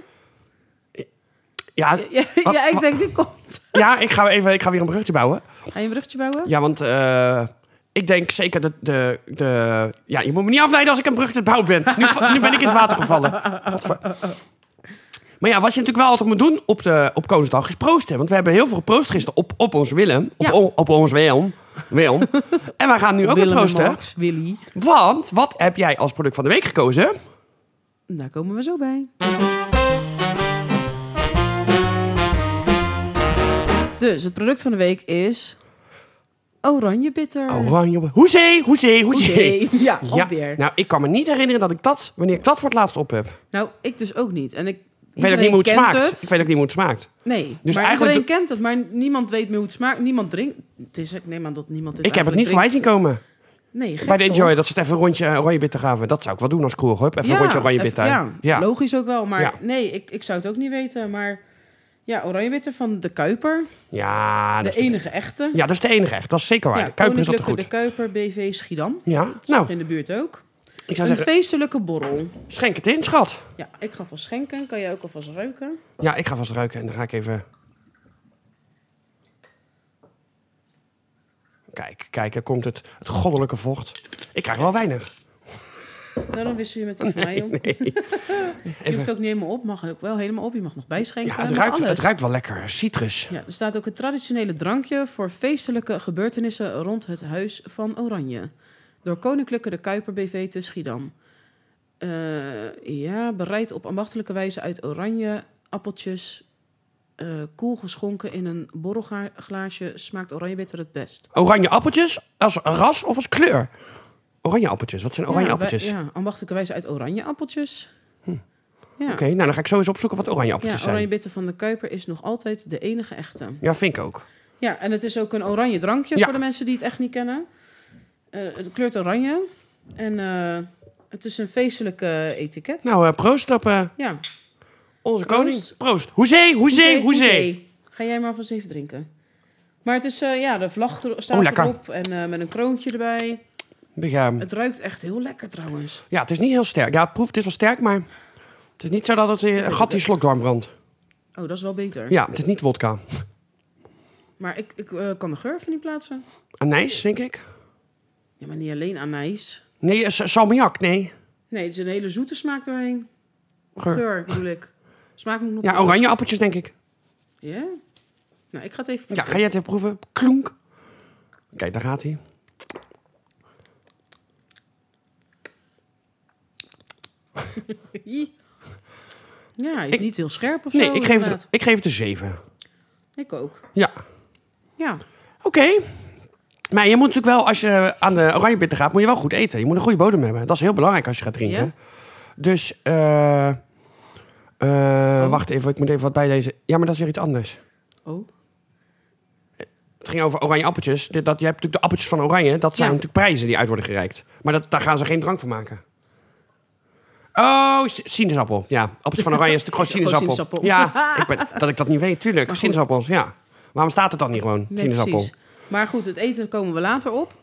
S1: Ja,
S2: Ja,
S1: Wat-
S2: ja, ik denk, nu komt.
S1: ja ik, ga even, ik ga weer een brugje bouwen.
S2: Ga je een bruggetje bouwen?
S1: Ja, want eh, Ik denk zeker dat de, de... Ja, je moet me niet afleiden als ik een brug te het bouwen ben. Nu, va- nu ben ik in het water gevallen. Godver- Maar ja, wat je natuurlijk wel altijd moet doen op, de, op Koningsdag is proosten. Want we hebben heel veel geproost gisteren op, op ons Willem. Op,
S2: Ja.
S1: on- op ons Willem. Willem. en wij gaan nu ook weer
S2: Willem en
S1: proosten.
S2: Max, Willy.
S1: Want wat heb jij als product van de week gekozen?
S2: Mm. Daar komen we zo bij. Dus het product van de week is oranje bitter.
S1: Oranje. Hoezee, hoezee, hoezee.
S2: Oké, Ja,
S1: Ja,
S2: alweer.
S1: nou, ik kan me niet herinneren dat ik dat, wanneer ik dat voor het laatst op heb.
S2: Nou, ik dus ook niet. En ik,
S1: Ik weet ook
S2: iedereen
S1: niet hoe het
S2: kent
S1: smaakt. Ik weet ook niet hoe het smaakt.
S2: Nee,
S1: Dus
S2: maar
S1: eigenlijk
S2: iedereen kent het, maar niemand weet meer hoe het smaakt. Niemand drinkt. Het is, ik neem aan dat niemand dit
S1: ik heb het niet
S2: eigenlijk
S1: voorbij zien komen.
S2: drinkt. Nee, gek
S1: Bij de
S2: toch?
S1: Enjoy, dat ze het even een rondje eh, oranje bitter gaven. Dat zou ik wel doen als crew, hoor. Even een rondje oranje
S2: even-
S1: bitter.
S2: Ja,
S1: Ja.
S2: logisch ook wel. Maar
S1: Ja.
S2: nee, ik, ik zou het ook niet weten. Maar ja, oranje bitter van de Kuiper.
S1: Ja, Ah, dat
S2: de
S1: is de-
S2: enige echte.
S1: ja, dat is de enige echt. Dat is zeker waar.
S2: Ja,
S1: de Kuiper is altijd
S2: Koninklijke
S1: goed.
S2: de Kuiper BV Schiedam.
S1: Ja,
S2: Nou.
S1: nou,
S2: In de buurt ook.
S1: ik
S2: Een
S1: zou zeggen,
S2: feestelijke borrel.
S1: schenk het in, schat.
S2: Ja, ik ga vast schenken. Kan jij ook alvast ruiken?
S1: Ja, ik ga vast ruiken en dan ga ik even... Kijk, kijk, er komt het, het goddelijke vocht. Ik krijg wel weinig.
S2: Daarom Nou, wissel je met de van mij om. Je hoeft ook niet helemaal op. Mag ook wel helemaal op. Je mag nog bijschenken.
S1: Ja, het
S2: maar
S1: ruikt,
S2: alles.
S1: het ruikt wel lekker. Citrus.
S2: Ja, er staat ook het traditionele drankje voor feestelijke gebeurtenissen rond het Huis van Oranje. Door Koninklijke de Kuiper BV te Schiedam. Eh, ja, bereid op ambachtelijke wijze uit oranje appeltjes. eh, koel geschonken in een borrelglaasje smaakt oranje bitter het best.
S1: Oranje appeltjes als ras of als kleur? Oranje appeltjes. Wat zijn oranje
S2: Ja,
S1: appeltjes? Hm.
S2: wij- Ja, ambachtelijke wijze uit oranje appeltjes. Ja,
S1: Oké, nou dan ga ik zo eens opzoeken wat oranje
S2: ja
S1: appeltjes
S2: oranje
S1: zijn.
S2: bitter van de Kuiper is nog altijd de enige echte.
S1: Ja, vind ik ook.
S2: Ja, en het is ook een oranje drankje
S1: Ja.
S2: voor de mensen die het echt niet kennen. Eh, het kleurt oranje. En eh, het is een feestelijke etiket.
S1: Nou, eh, proost op eh,
S2: ja.
S1: onze
S2: Proost.
S1: koning. Proost. Hoezee, hoezee, hoezee.
S2: Ga jij maar van zeven drinken. Maar het is, eh, ja, de vlag er- staat
S1: Oh, lekker.
S2: erop en eh, met een kroontje erbij.
S1: Begaan.
S2: Het ruikt echt heel lekker trouwens.
S1: Ja, het is niet heel sterk. Ja, het proeft, het is wel sterk, maar het is niet zo dat het eh, een gat in je slokdarm brandt.
S2: Oh, dat is wel beter.
S1: Ja, het is niet wodka.
S2: Maar ik, ik eh, kan de geur even niet plaatsen.
S1: Anijs, denk ik.
S2: Ja, maar niet alleen anijs.
S1: Nee, eh, sa- salmiak, nee.
S2: Nee, het is een hele zoete smaak doorheen.
S1: Geur.
S2: Geur, bedoel ik. Smaak moet nog...
S1: Ja, oranje appeltjes, denk ik.
S2: Ja? Nou, ik ga het even
S1: Ja,
S2: proeven.
S1: ga jij het even proeven? Klonk. Kijk, daar gaat hij.
S2: Ja, hij is
S1: Ik-
S2: niet heel scherp of
S1: Nee,
S2: zo.
S1: ik geef, het,
S2: inderdaad.
S1: ik geef het een 7.
S2: Ik ook.
S1: Ja,
S2: Ja.
S1: Oké. Maar je moet natuurlijk wel, als je aan de oranjebitter gaat, moet je wel goed eten. Je moet een goede bodem hebben. Dat is heel belangrijk als je gaat drinken.
S2: Ja.
S1: Dus, eh eh, wacht even, ik moet even wat bijlezen. Ja, maar dat is weer iets anders.
S2: Oh.
S1: Het ging over oranje appeltjes. Dit, dat, je hebt natuurlijk de appeltjes van oranje. Dat zijn
S2: Ja.
S1: natuurlijk prijzen die uit worden gereikt. Maar dat, daar gaan ze geen drank van maken. Oh, si- sinaasappel. Ja, appeltjes van oranje is natuurlijk gewoon
S2: Gewoon
S1: sinaasappel. Ja, ik ben, dat ik dat niet weet, tuurlijk.
S2: Maar goed.
S1: Sinaasappels, ja. Waarom staat het dan niet gewoon,
S2: Nee,
S1: sinaasappel?
S2: precies. Maar goed, het eten komen we later op.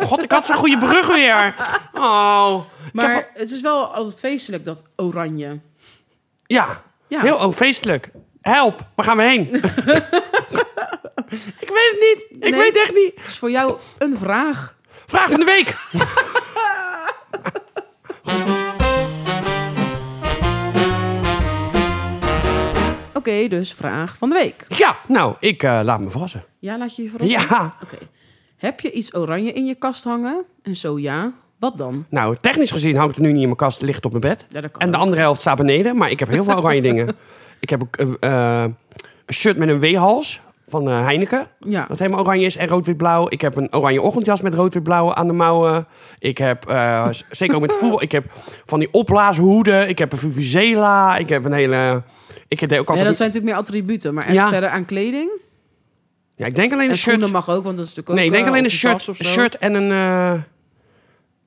S1: God, ik had zo'n goede brug weer. Oh. Ik
S2: Maar
S1: heb wel-
S2: het is wel altijd feestelijk, dat oranje.
S1: ja.
S2: Ja.
S1: heel onfeestelijk. Help, waar gaan we heen? ik weet het niet. Ik
S2: Nee.
S1: weet het echt niet.
S2: Het is dus voor jou een vraag.
S1: Vraag van de week.
S2: Oké, dus vraag van de week.
S1: Ja, nou, ik eh, laat me verrassen.
S2: Ja, laat je je verrassen?
S1: Ja.
S2: Oké. Heb je iets oranje in je kast hangen? En zo ja, wat dan?
S1: Nou, technisch gezien hangt het nu niet in mijn kast, ligt het op mijn bed.
S2: Ja, dat kan
S1: En de
S2: ook.
S1: andere helft staat beneden, maar ik heb heel veel oranje dingen. Ik heb ook, eh, eh, een shirt met een W-hals van eh, Heineken.
S2: Ja.
S1: Dat helemaal oranje is en rood-wit-blauw. Ik heb een oranje ochtendjas met rood-wit-blauw aan de mouwen. Ik heb, eh, z- zeker ook met voetbal, ik heb van die opblaashoeden. Ik heb een Vuvuzela. Ik heb een hele... Ik deed ook
S2: Ja,
S1: altijd...
S2: dat zijn natuurlijk meer attributen, maar echt
S1: Ja.
S2: verder aan kleding.
S1: Ja, ik denk alleen
S2: En
S1: een shirt.
S2: schoenen mag ook, want dat is natuurlijk ook...
S1: Nee, ik denk
S2: eh,
S1: alleen een
S2: of
S1: shirt,
S2: tas of
S1: een
S2: zo.
S1: shirt en een... eh,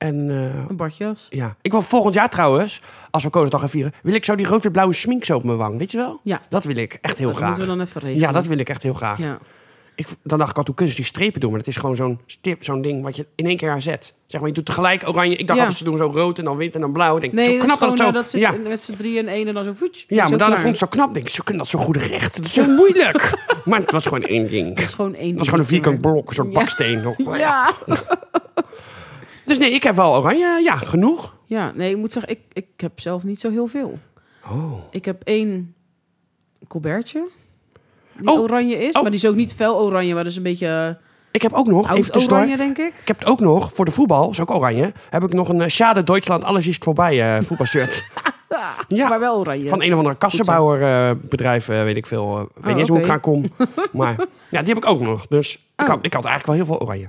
S1: en, eh,
S2: Een badjas.
S1: ja. Ik wil volgend jaar trouwens, als we Koningsdag gaan vieren... wil ik zo die rood-wit-blauwe smink zo op mijn wang, weet je wel?
S2: Ja. Oh,
S1: Dat wil ik echt heel
S2: dat
S1: graag.
S2: moeten we dan even regelen.
S1: Ja, dat wil ik echt heel graag.
S2: Ja.
S1: Ik, dan dacht ik al, hoe kunnen ze die strepen doen? Maar dat is gewoon zo'n stip, zo'n ding wat je in één keer aan zet. Zeg maar, je doet tegelijk oranje. Ik dacht
S2: Ja.
S1: altijd, ze doen zo rood en dan wit en dan blauw. Ik denk,
S2: Nee,
S1: zo
S2: dat is
S1: knap dat het
S2: gewoon zo,
S1: zo...
S2: dat zit
S1: ja,
S2: in- met z'n drieën en één en dan zo voetje.
S1: ja maar daarna
S2: dat
S1: vond ik het zo knap. Ik denk, ze kunnen dat zo goed recht. Dat is zo moeilijk. maar het was gewoon één ding.
S2: is gewoon één.
S1: Het was gewoon een vierkant blok, zo'n
S2: Ja.
S1: baksteen. Nog.
S2: Ja.
S1: Dus nee, ik heb wel oranje. Ja, genoeg.
S2: Ja, nee, ik moet zeggen, ik, ik heb zelf niet zo heel veel.
S1: Oh.
S2: Ik heb één colbertje. Die
S1: Oh.
S2: oranje is,
S1: Oh.
S2: maar die is ook niet fel oranje, maar dat is een beetje eh,
S1: Ik heb ook nog, even
S2: oud
S1: tussendoor.
S2: oranje, denk ik.
S1: Ik heb het ook nog, voor de voetbal, is ook oranje, heb ik nog een eh, Schade Duitsland, alles is voorbij eh voetbalshirt. Ja.
S2: Maar wel oranje.
S1: Van een of andere kassenbouwerbedrijf, weet ik veel. eh, weet niet eens hoe ik
S2: Oh,
S1: eraan
S2: oké.
S1: kom. maar ja, die heb ik ook nog. Dus ik,
S2: Oh.
S1: had, ik had eigenlijk wel heel veel oranje.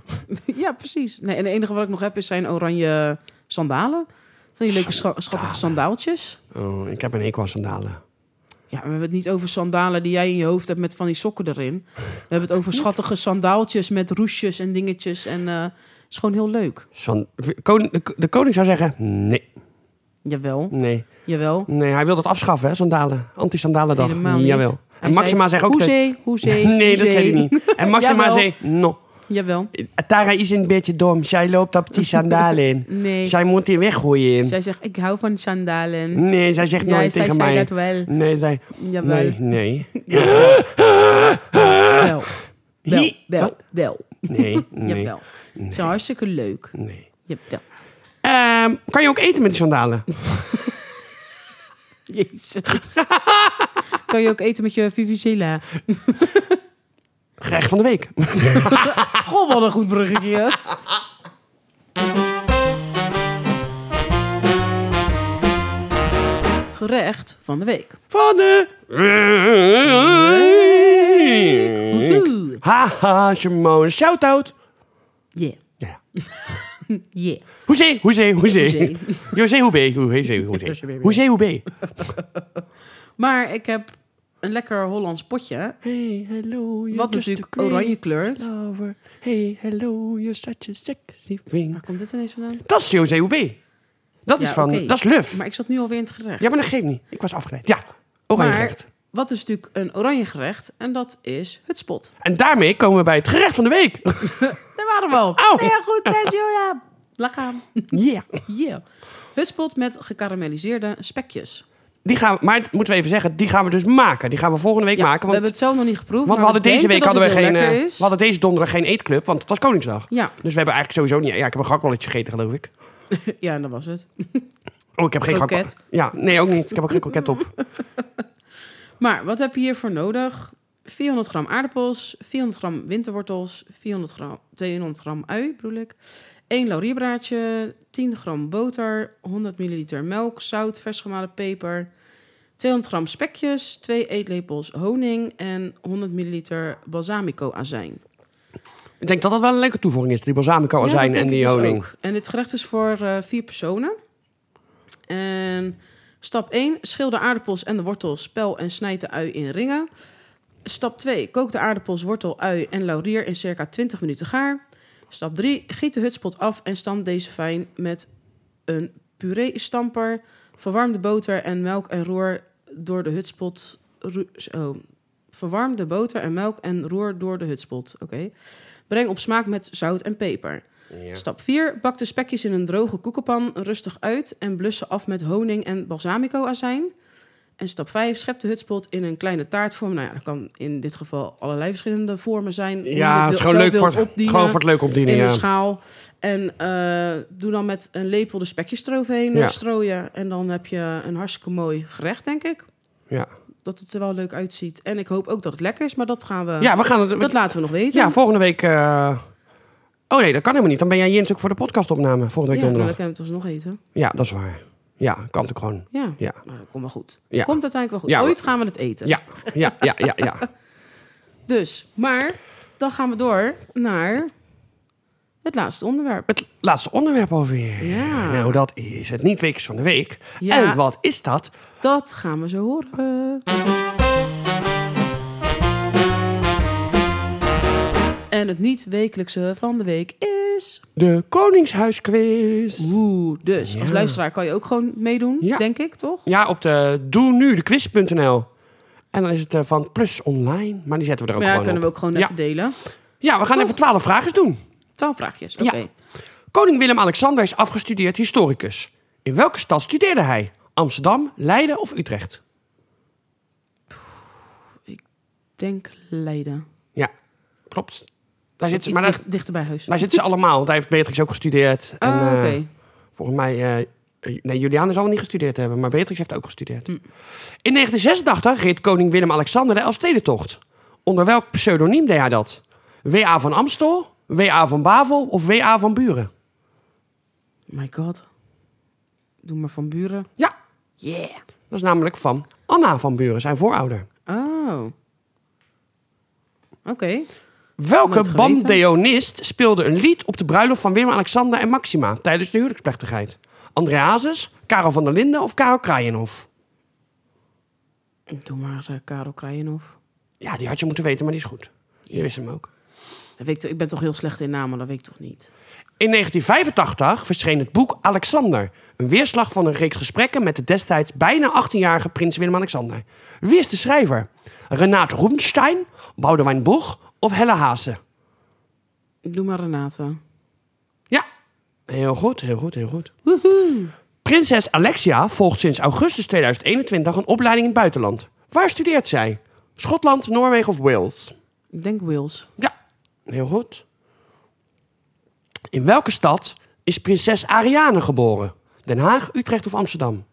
S2: ja, precies. Nee, en het enige wat ik nog heb is zijn oranje sandalen. Van die leuke scha- schattige sandaaltjes.
S1: Oh, ik heb een hekel aan sandalen.
S2: Ja, we hebben het niet over sandalen die jij in je hoofd hebt met van die sokken erin. We hebben het over schattige sandaaltjes met roesjes en dingetjes. En eh, het is gewoon heel leuk.
S1: San- koning, de, de koning zou zeggen, nee,
S2: Jawel,
S1: nee,
S2: jawel.
S1: nee. Hij wil dat afschaffen, hè, sandalen. Anti-sandalendag.
S2: Helemaal niet.
S1: Jawel.
S2: Hij
S1: En Maxima
S2: zei,
S1: zegt ook... tegen-
S2: Hoezee, hoezee,
S1: Nee, dat
S2: hoezee."
S1: zei hij niet. En Maxima
S2: Jawel.
S1: zei, no.
S2: Jawel,
S1: Tara is een beetje dom. Zij loopt op die sandalen in.
S2: nee.
S1: Zij moet die weggooien.
S2: Zij zegt, ik hou van sandalen.
S1: Nee, zij zegt
S2: Ja,
S1: nooit
S2: zij
S1: tegen
S2: zei
S1: mij.
S2: dat wel.
S1: Nee, zij...
S2: Jawel.
S1: Nee, nee.
S2: Wel, wel,
S1: Hi.
S2: wel,
S1: Wat?
S2: wel.
S1: Nee, nee.
S2: Jawel. Ze zijn hartstikke leuk.
S1: nee.
S2: Jawel.
S1: Ehm, kan je ook eten met die sandalen?
S2: Jezus. kan je ook eten met je Vivicilla?
S1: Gerecht van de week.
S2: Goh, Oh, wat een goed bruggetje. Gerecht van de week.
S1: Van de week.
S2: Woehoe.
S1: Haha, Simone, shout-out.
S2: Yeah.
S1: Ja.
S2: Yeah.
S1: Hoezee, hoezee, hoezee.
S2: Hoezee.
S1: José Hoebe, hoezee, hoezee. Hoezee Hoebe.
S2: Maar ik heb een lekker Hollands potje.
S1: Hey, hallo. je
S2: Wat
S1: bent de
S2: natuurlijk
S1: greatest
S2: oranje kleurt.
S1: lover. Hey, hallo, you're such a sexy thing.
S2: Waar komt dit ineens vandaan?
S1: Dat is José Hoebe. Dat is
S2: Ja,
S1: van,
S2: oké.
S1: dat is luf.
S2: Maar ik zat nu alweer in het gerecht.
S1: Ja, maar dat geeft niet. Ik was afgeleid. Ja, oranje
S2: Maar-
S1: gerecht.
S2: Wat is natuurlijk een oranje gerecht? En dat is het spot.
S1: En daarmee komen we bij het gerecht van de week.
S2: Daar waren we al.
S1: Au.
S2: Nou Ja, goed. Dat is Jola. Lichaam.
S1: Ja.
S2: Yeah. Hutspot met gekarameliseerde spekjes.
S1: Die gaan we, maar moeten we even zeggen, die gaan we dus maken. Die gaan we volgende week
S2: Ja,
S1: maken.
S2: we
S1: Want,
S2: hebben het zelf nog niet geproefd.
S1: want we
S2: maar
S1: hadden deze
S2: denken
S1: week
S2: dat
S1: hadden we
S2: het heel
S1: geen.
S2: lekker
S1: eh,
S2: is.
S1: we hadden deze donderdag geen eetclub, want het was Koningsdag.
S2: Ja.
S1: Dus we hebben eigenlijk sowieso niet. Ja, ik heb een gehaktballetje gegeten, geloof ik.
S2: ja, en dat was het.
S1: Oh, ik heb geen
S2: Kroket.
S1: gehaktbal- Ja, nee, ook niet. Ik heb ook geen kroket op.
S2: Maar wat heb je hiervoor nodig? 400 gram aardappels, 400 gram winterwortels, 400 gram, 200 gram ui bedoel ik, 1 laurierbraadje, 10 gram boter, 100 milliliter melk, zout, vers gemalen peper, 200 gram spekjes, 2 eetlepels honing en 100 milliliter balsamico azijn.
S1: Ik denk dat dat wel een leuke toevoeging is. Die balsamico
S2: Ja,
S1: azijn
S2: dat
S1: en
S2: denk
S1: die
S2: ik dus
S1: honing.
S2: ook. En dit gerecht is voor eh, vier personen. En stap 1, schil de aardappels en de wortels, pel en snijd de ui in ringen. Stap 2, kook de aardappels, wortel, ui en laurier in circa 20 minuten gaar. Stap 3, giet de hutspot af en stamp deze fijn met een puree-stamper. Verwarm de boter en melk en roer door de hutspot... ru- zo. Verwarm de boter en melk en roer door de hutspot. Oké. Breng op smaak met zout en peper.
S1: Ja.
S2: Stap 4. Bak de spekjes in een droge koekenpan rustig uit en blus ze af met honing en balsamicoazijn. En stap 5. Schep de hutspot in een kleine taartvorm. Nou ja, dat kan in dit geval allerlei verschillende vormen zijn. Hoe je
S1: Ja, het is
S2: wil-
S1: gewoon
S2: zelf
S1: leuk voor
S2: wilt
S1: het,
S2: opdienen
S1: gewoon voor het leuk opdienen.
S2: in
S1: Ja.
S2: een schaal. En eh, doe dan met een lepel de spekjes eroverheen eh,
S1: Ja.
S2: strooien. En dan heb je een hartstikke mooi gerecht, denk ik.
S1: Ja.
S2: Dat het er wel leuk uitziet. En ik hoop ook dat het lekker is, maar dat gaan we...
S1: ja, we gaan het.
S2: Dat laten we nog weten.
S1: ja, volgende week. eh, Oh nee, dat kan helemaal niet. Dan ben jij hier natuurlijk voor de podcastopname. Volgende
S2: ja,
S1: week
S2: maar we
S1: donderdag.
S2: kunnen het alsnog eten.
S1: Ja, dat is waar. Ja, kan natuurlijk gewoon.
S2: Ja.
S1: Ja.
S2: Maar dat komt wel goed.
S1: Ja.
S2: Komt uiteindelijk wel goed.
S1: Ja.
S2: Ooit gaan we het eten.
S1: Ja, ja, ja, ja, ja.
S2: Dus, maar dan gaan we door naar het laatste onderwerp.
S1: Het laatste onderwerp alweer.
S2: Ja.
S1: Nou, dat is het niet-weekjes van de week.
S2: Ja.
S1: En wat is dat?
S2: Dat gaan we zo horen. En het niet-wekelijkse van de week is...
S1: De Koningshuisquiz.
S2: Oeh, dus als
S1: Ja.
S2: luisteraar kan je ook gewoon meedoen,
S1: Ja.
S2: denk ik, toch?
S1: Ja, op de doe nu de quiz.nl. En dan is het eh, van plus online. Maar die zetten we er ook
S2: Maar ja,
S1: gewoon
S2: kunnen we
S1: op.
S2: ook gewoon
S1: Ja.
S2: even delen.
S1: Ja, we gaan
S2: Toch?
S1: even twaalf vragen doen.
S2: Twaalf vraagjes, oké.
S1: Ja. Koning Willem-Alexander is afgestudeerd historicus. In welke stad studeerde hij? Amsterdam, Leiden of Utrecht?
S2: Denk Leiden.
S1: Ja, klopt. Daar zitten,
S2: Iets
S1: ze- maar daar,
S2: dicht- dichter bij huis.
S1: daar zitten ze allemaal. want Daar heeft Beatrix ook gestudeerd. En,
S2: Ah,
S1: eh,
S2: oké.
S1: Volgens mij... eh, nee, Juliana zal wel niet gestudeerd hebben, maar Beatrix heeft ook gestudeerd. In 1986 reed koning Willem-Alexander de Elfstedentocht. Onder welk pseudoniem deed hij dat? W.A. van Amstel, W.A. van Bavel of W.A. van Buren?
S2: My god. Doe maar van buren.
S1: Ja,
S2: Yeah.
S1: dat is namelijk van Anna van Buren, zijn voorouder.
S2: Oh. Oké.
S1: Welke
S2: Nooit geweten.
S1: bandeonist speelde een lied op de bruiloft van Willem-Alexander en Maxima tijdens de huwelijksplechtigheid? André Hazes, Karel van der Linden of Karel Kraaienhof?
S2: Doe maar eh, Karel Kraaienhof.
S1: Ja, die had je moeten weten, maar die is goed. Je wist hem ook.
S2: Dat weet ik, toch- ik ben toch heel slecht in namen, dat weet ik toch niet.
S1: In 1985 verscheen het boek Alexander. Een weerslag van een reeks gesprekken met de destijds bijna 18-jarige prins Willem-Alexander. Wie is de schrijver? Renaat Roenstein, Boudewijn Boeg of Helle Haase?
S2: Doe maar Renate.
S1: Ja, heel goed, heel goed, heel goed. Prinses Alexia volgt sinds augustus 2021 een opleiding in het buitenland. Waar studeert zij? Schotland, Noorwegen of Wales?
S2: Ik denk Wils.
S1: Ja, heel goed. In welke stad is prinses Ariane geboren? Den Haag, Utrecht of Amsterdam?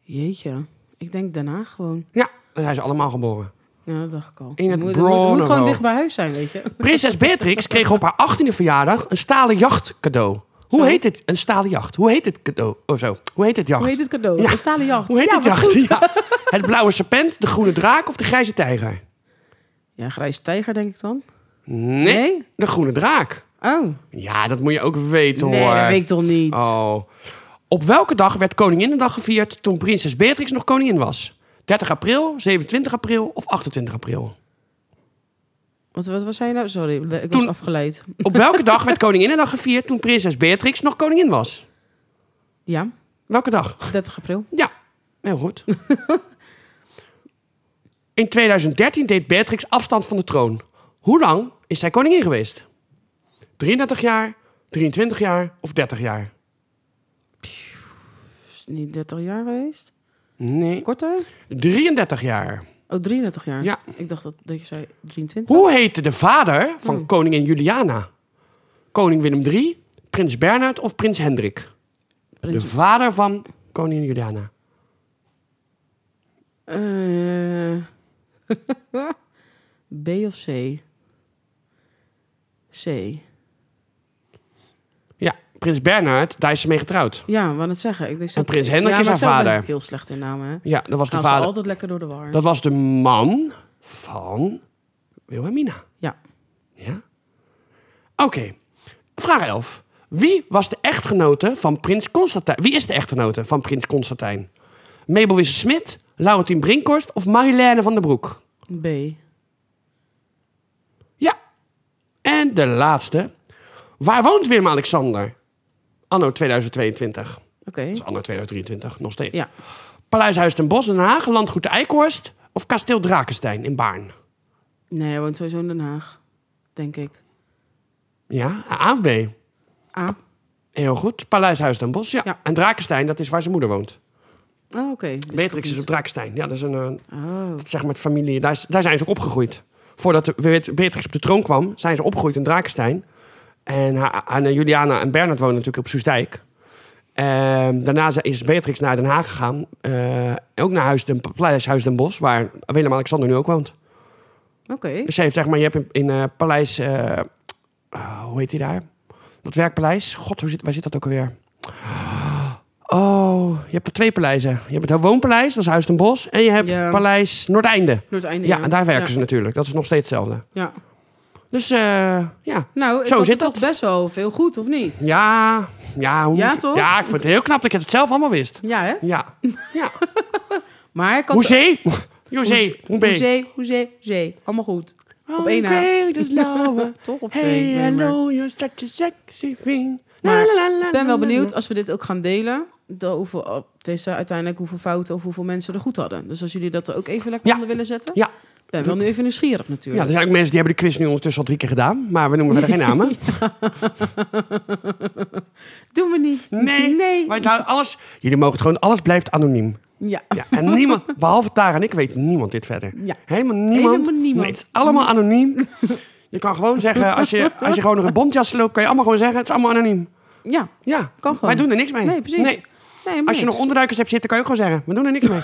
S2: Jeetje. Ik denk Den Haag gewoon.
S1: Ja, daar zijn ze allemaal geboren.
S2: Ja, dat dacht ik al.
S1: In het
S2: moet, moet, moet gewoon
S1: Bronero.
S2: dicht bij huis zijn, weet je.
S1: Prinses Beatrix kreeg op haar 18e verjaardag een stalen jacht cadeau. Hoe
S2: Sorry?
S1: heet dit? Een stalen jacht. Hoe heet dit cadeau? Of zo. Hoe heet dit jacht?
S2: Hoe heet het cadeau?
S1: Ja.
S2: Een stalen jacht.
S1: Hoe heet
S2: ja,
S1: het
S2: wat
S1: jacht?
S2: goed.
S1: Ja. Het blauwe serpent, de groene draak of de grijze tijger?
S2: Ja, grijze tijger denk ik dan.
S1: Nee,
S2: Nee?
S1: de groene draak.
S2: Oh.
S1: Ja, dat moet je ook weten
S2: Nee,
S1: hoor.
S2: dat weet ik toch niet.
S1: Oh. Op welke dag werd Koninginnedag gevierd toen prinses Beatrix nog koningin was? 30 april, 27 april of 28 april?
S2: Wat, wat was hij nou? Sorry, ik was
S1: Toen-
S2: afgeleid.
S1: Op welke dag werd Koninginnedag gevierd toen prinses Beatrix nog koningin was?
S2: Ja,
S1: Welke dag?
S2: 30 april.
S1: Ja, heel goed. In 2013 deed Beatrix afstand van de troon. Hoe lang is zij koningin geweest? 33 jaar, 23 jaar of 30 jaar?
S2: Is het niet 30 jaar geweest?
S1: Nee.
S2: Korter?
S1: 33 jaar.
S2: Oh, 33 jaar.
S1: Ja.
S2: Ik dacht dat, dat je zei 23.
S1: Hoe heette de vader van
S2: Hmm.
S1: koningin Juliana? Koning Willem III, prins Bernhard of prins Hendrik? De
S2: Prins-
S1: vader van koningin Juliana.
S2: Eh, B of C? C.
S1: Ja, prins Bernhard, daar is ze mee getrouwd.
S2: Ja, wat het zeggen. Ik denk,
S1: En prins Hendrik
S2: ja,
S1: is
S2: maar
S1: haar
S2: ik zelf ben
S1: vader.
S2: Heel slecht in namen, hè?
S1: Ja, dat was de
S2: Gaan ze
S1: vader.
S2: altijd lekker door de war.
S1: Dat was de man van Wilhelmina.
S2: Ja.
S1: Ja? Oké. Vraag 11. Wie was de echtgenote van prins Constantijn? Wie is de echtgenote van prins Constantijn? Mabel Wisse-Smit, Laurentien Brinkhorst of Marilène van der Broek?
S2: B.
S1: Ja. En de laatste. Waar woont Willem-Alexander? Anno 2022.
S2: Oké.
S1: Dat is anno 2023, nog steeds.
S2: Ja.
S1: Paleishuis ten Bosch in Den Haag, Landgoed Eikhorst of Kasteel Drakenstein in Baarn?
S2: Nee, hij woont sowieso in Den Haag. Denk ik.
S1: Ja, A of B?
S2: A.
S1: Heel goed. Paleishuis ten Bosch, ja.
S2: Ja.
S1: En Drakenstein, dat is waar zijn moeder woont.
S2: Ah, oké. Dus
S1: Beatrix
S2: ik-
S1: is op Drakenstein. Ja, dat is een, eh,
S2: Oh.
S1: zeg maar, het familie. Daar, is- daar zijn ze ook opgegroeid. Voordat de- Beat- Beatrix op de troon kwam, zijn ze opgegroeid in Drakenstein. En haar, haar- eh, Juliana en Bernard wonen natuurlijk op Soestdijk. Ehm, daarna ze- is Beatrix naar Den Haag gegaan. Eh, ook naar huis den, Paleishuis Den Bosch, waar Willem-Alexander nu ook woont.
S2: Oké.
S1: Dus ze heeft, zeg maar, je hebt in, in eh, Paleis... eh, ah, hoe heet die daar? Dat werkpaleis. God, hoe zit, waar zit dat ook alweer? Oh, je hebt er twee paleizen. Je hebt het Woonpaleis, dat is Huis ten Bosch. En je hebt
S2: Ja.
S1: Paleis Noordeinde.
S2: Door het einde.
S1: Ja, en daar werken
S2: ja.
S1: ze natuurlijk. Dat is nog steeds hetzelfde.
S2: Ja.
S1: Dus eh, ja.
S2: Nou, ik
S1: Zo
S2: had
S1: zit
S2: het toch best wel veel goed, of niet?
S1: Ja, ja, hoe
S2: Ja,
S1: moest-
S2: toch?
S1: Ja, ik vind het heel knap dat ik het zelf allemaal wist.
S2: Ja, hè?
S1: Ja. ja.
S2: Maar ik had...
S1: Hoezee? Hoezee. Hoe ben je?
S2: Hoezee, hoezee, hoezee. Allemaal goed. Op één
S1: Oh,
S2: na.
S1: na.
S2: Toch? Of
S1: Hey,
S2: twee.
S1: hello, you're such a sexy thing. La,
S2: Maar
S1: la, la, la,
S2: Ik ben
S1: la,
S2: wel
S1: la, la.
S2: benieuwd als we dit ook gaan delen. de, hoeveel, oh, tenminste, uiteindelijk hoeveel fouten of hoeveel mensen er goed hadden. Dus als jullie dat er ook even lekker
S1: Ja.
S2: onder willen zetten.
S1: Ja.
S2: Ben wel nu even nieuwsgierig
S1: Ja, er
S2: natuurlijk.
S1: zijn ook mensen die hebben de quiz nu ondertussen al drie keer gedaan. Maar we noemen verder geen namen.
S2: Doe me niet.
S1: Nee,
S2: nee.
S1: Maar het houdt alles, jullie mogen het gewoon, alles blijft anoniem.
S2: Ja.
S1: Ja, en niemand, behalve Tara en ik, weet niemand dit verder.
S2: Ja.
S1: Helemaal niemand.
S2: Helemaal niemand.
S1: Nee, het is allemaal anoniem. Je kan gewoon zeggen, als je, als je gewoon nog een bondjas loopt, kan je allemaal gewoon zeggen, het is allemaal anoniem.
S2: Ja,
S1: Ja,
S2: kan gewoon.
S1: wij doen er niks mee.
S2: Nee, precies. Nee, maar
S1: Als je
S2: niks.
S1: nog onderduikers hebt zitten, kan je ook gewoon zeggen, we doen er niks mee.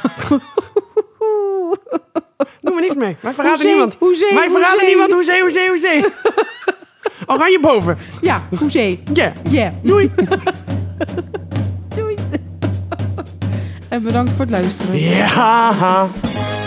S1: doen we niks mee. Wij verraden
S2: Hoezee,
S1: niemand.
S2: hoezee,
S1: Wij verraden
S2: hoezee.
S1: niemand. Hoezee, hoezee, hoezee. Oranje boven.
S2: Ja, hoezee.
S1: Yeah.
S2: Yeah.
S1: Doei.
S2: Doei. en bedankt voor het luisteren.
S1: Ja.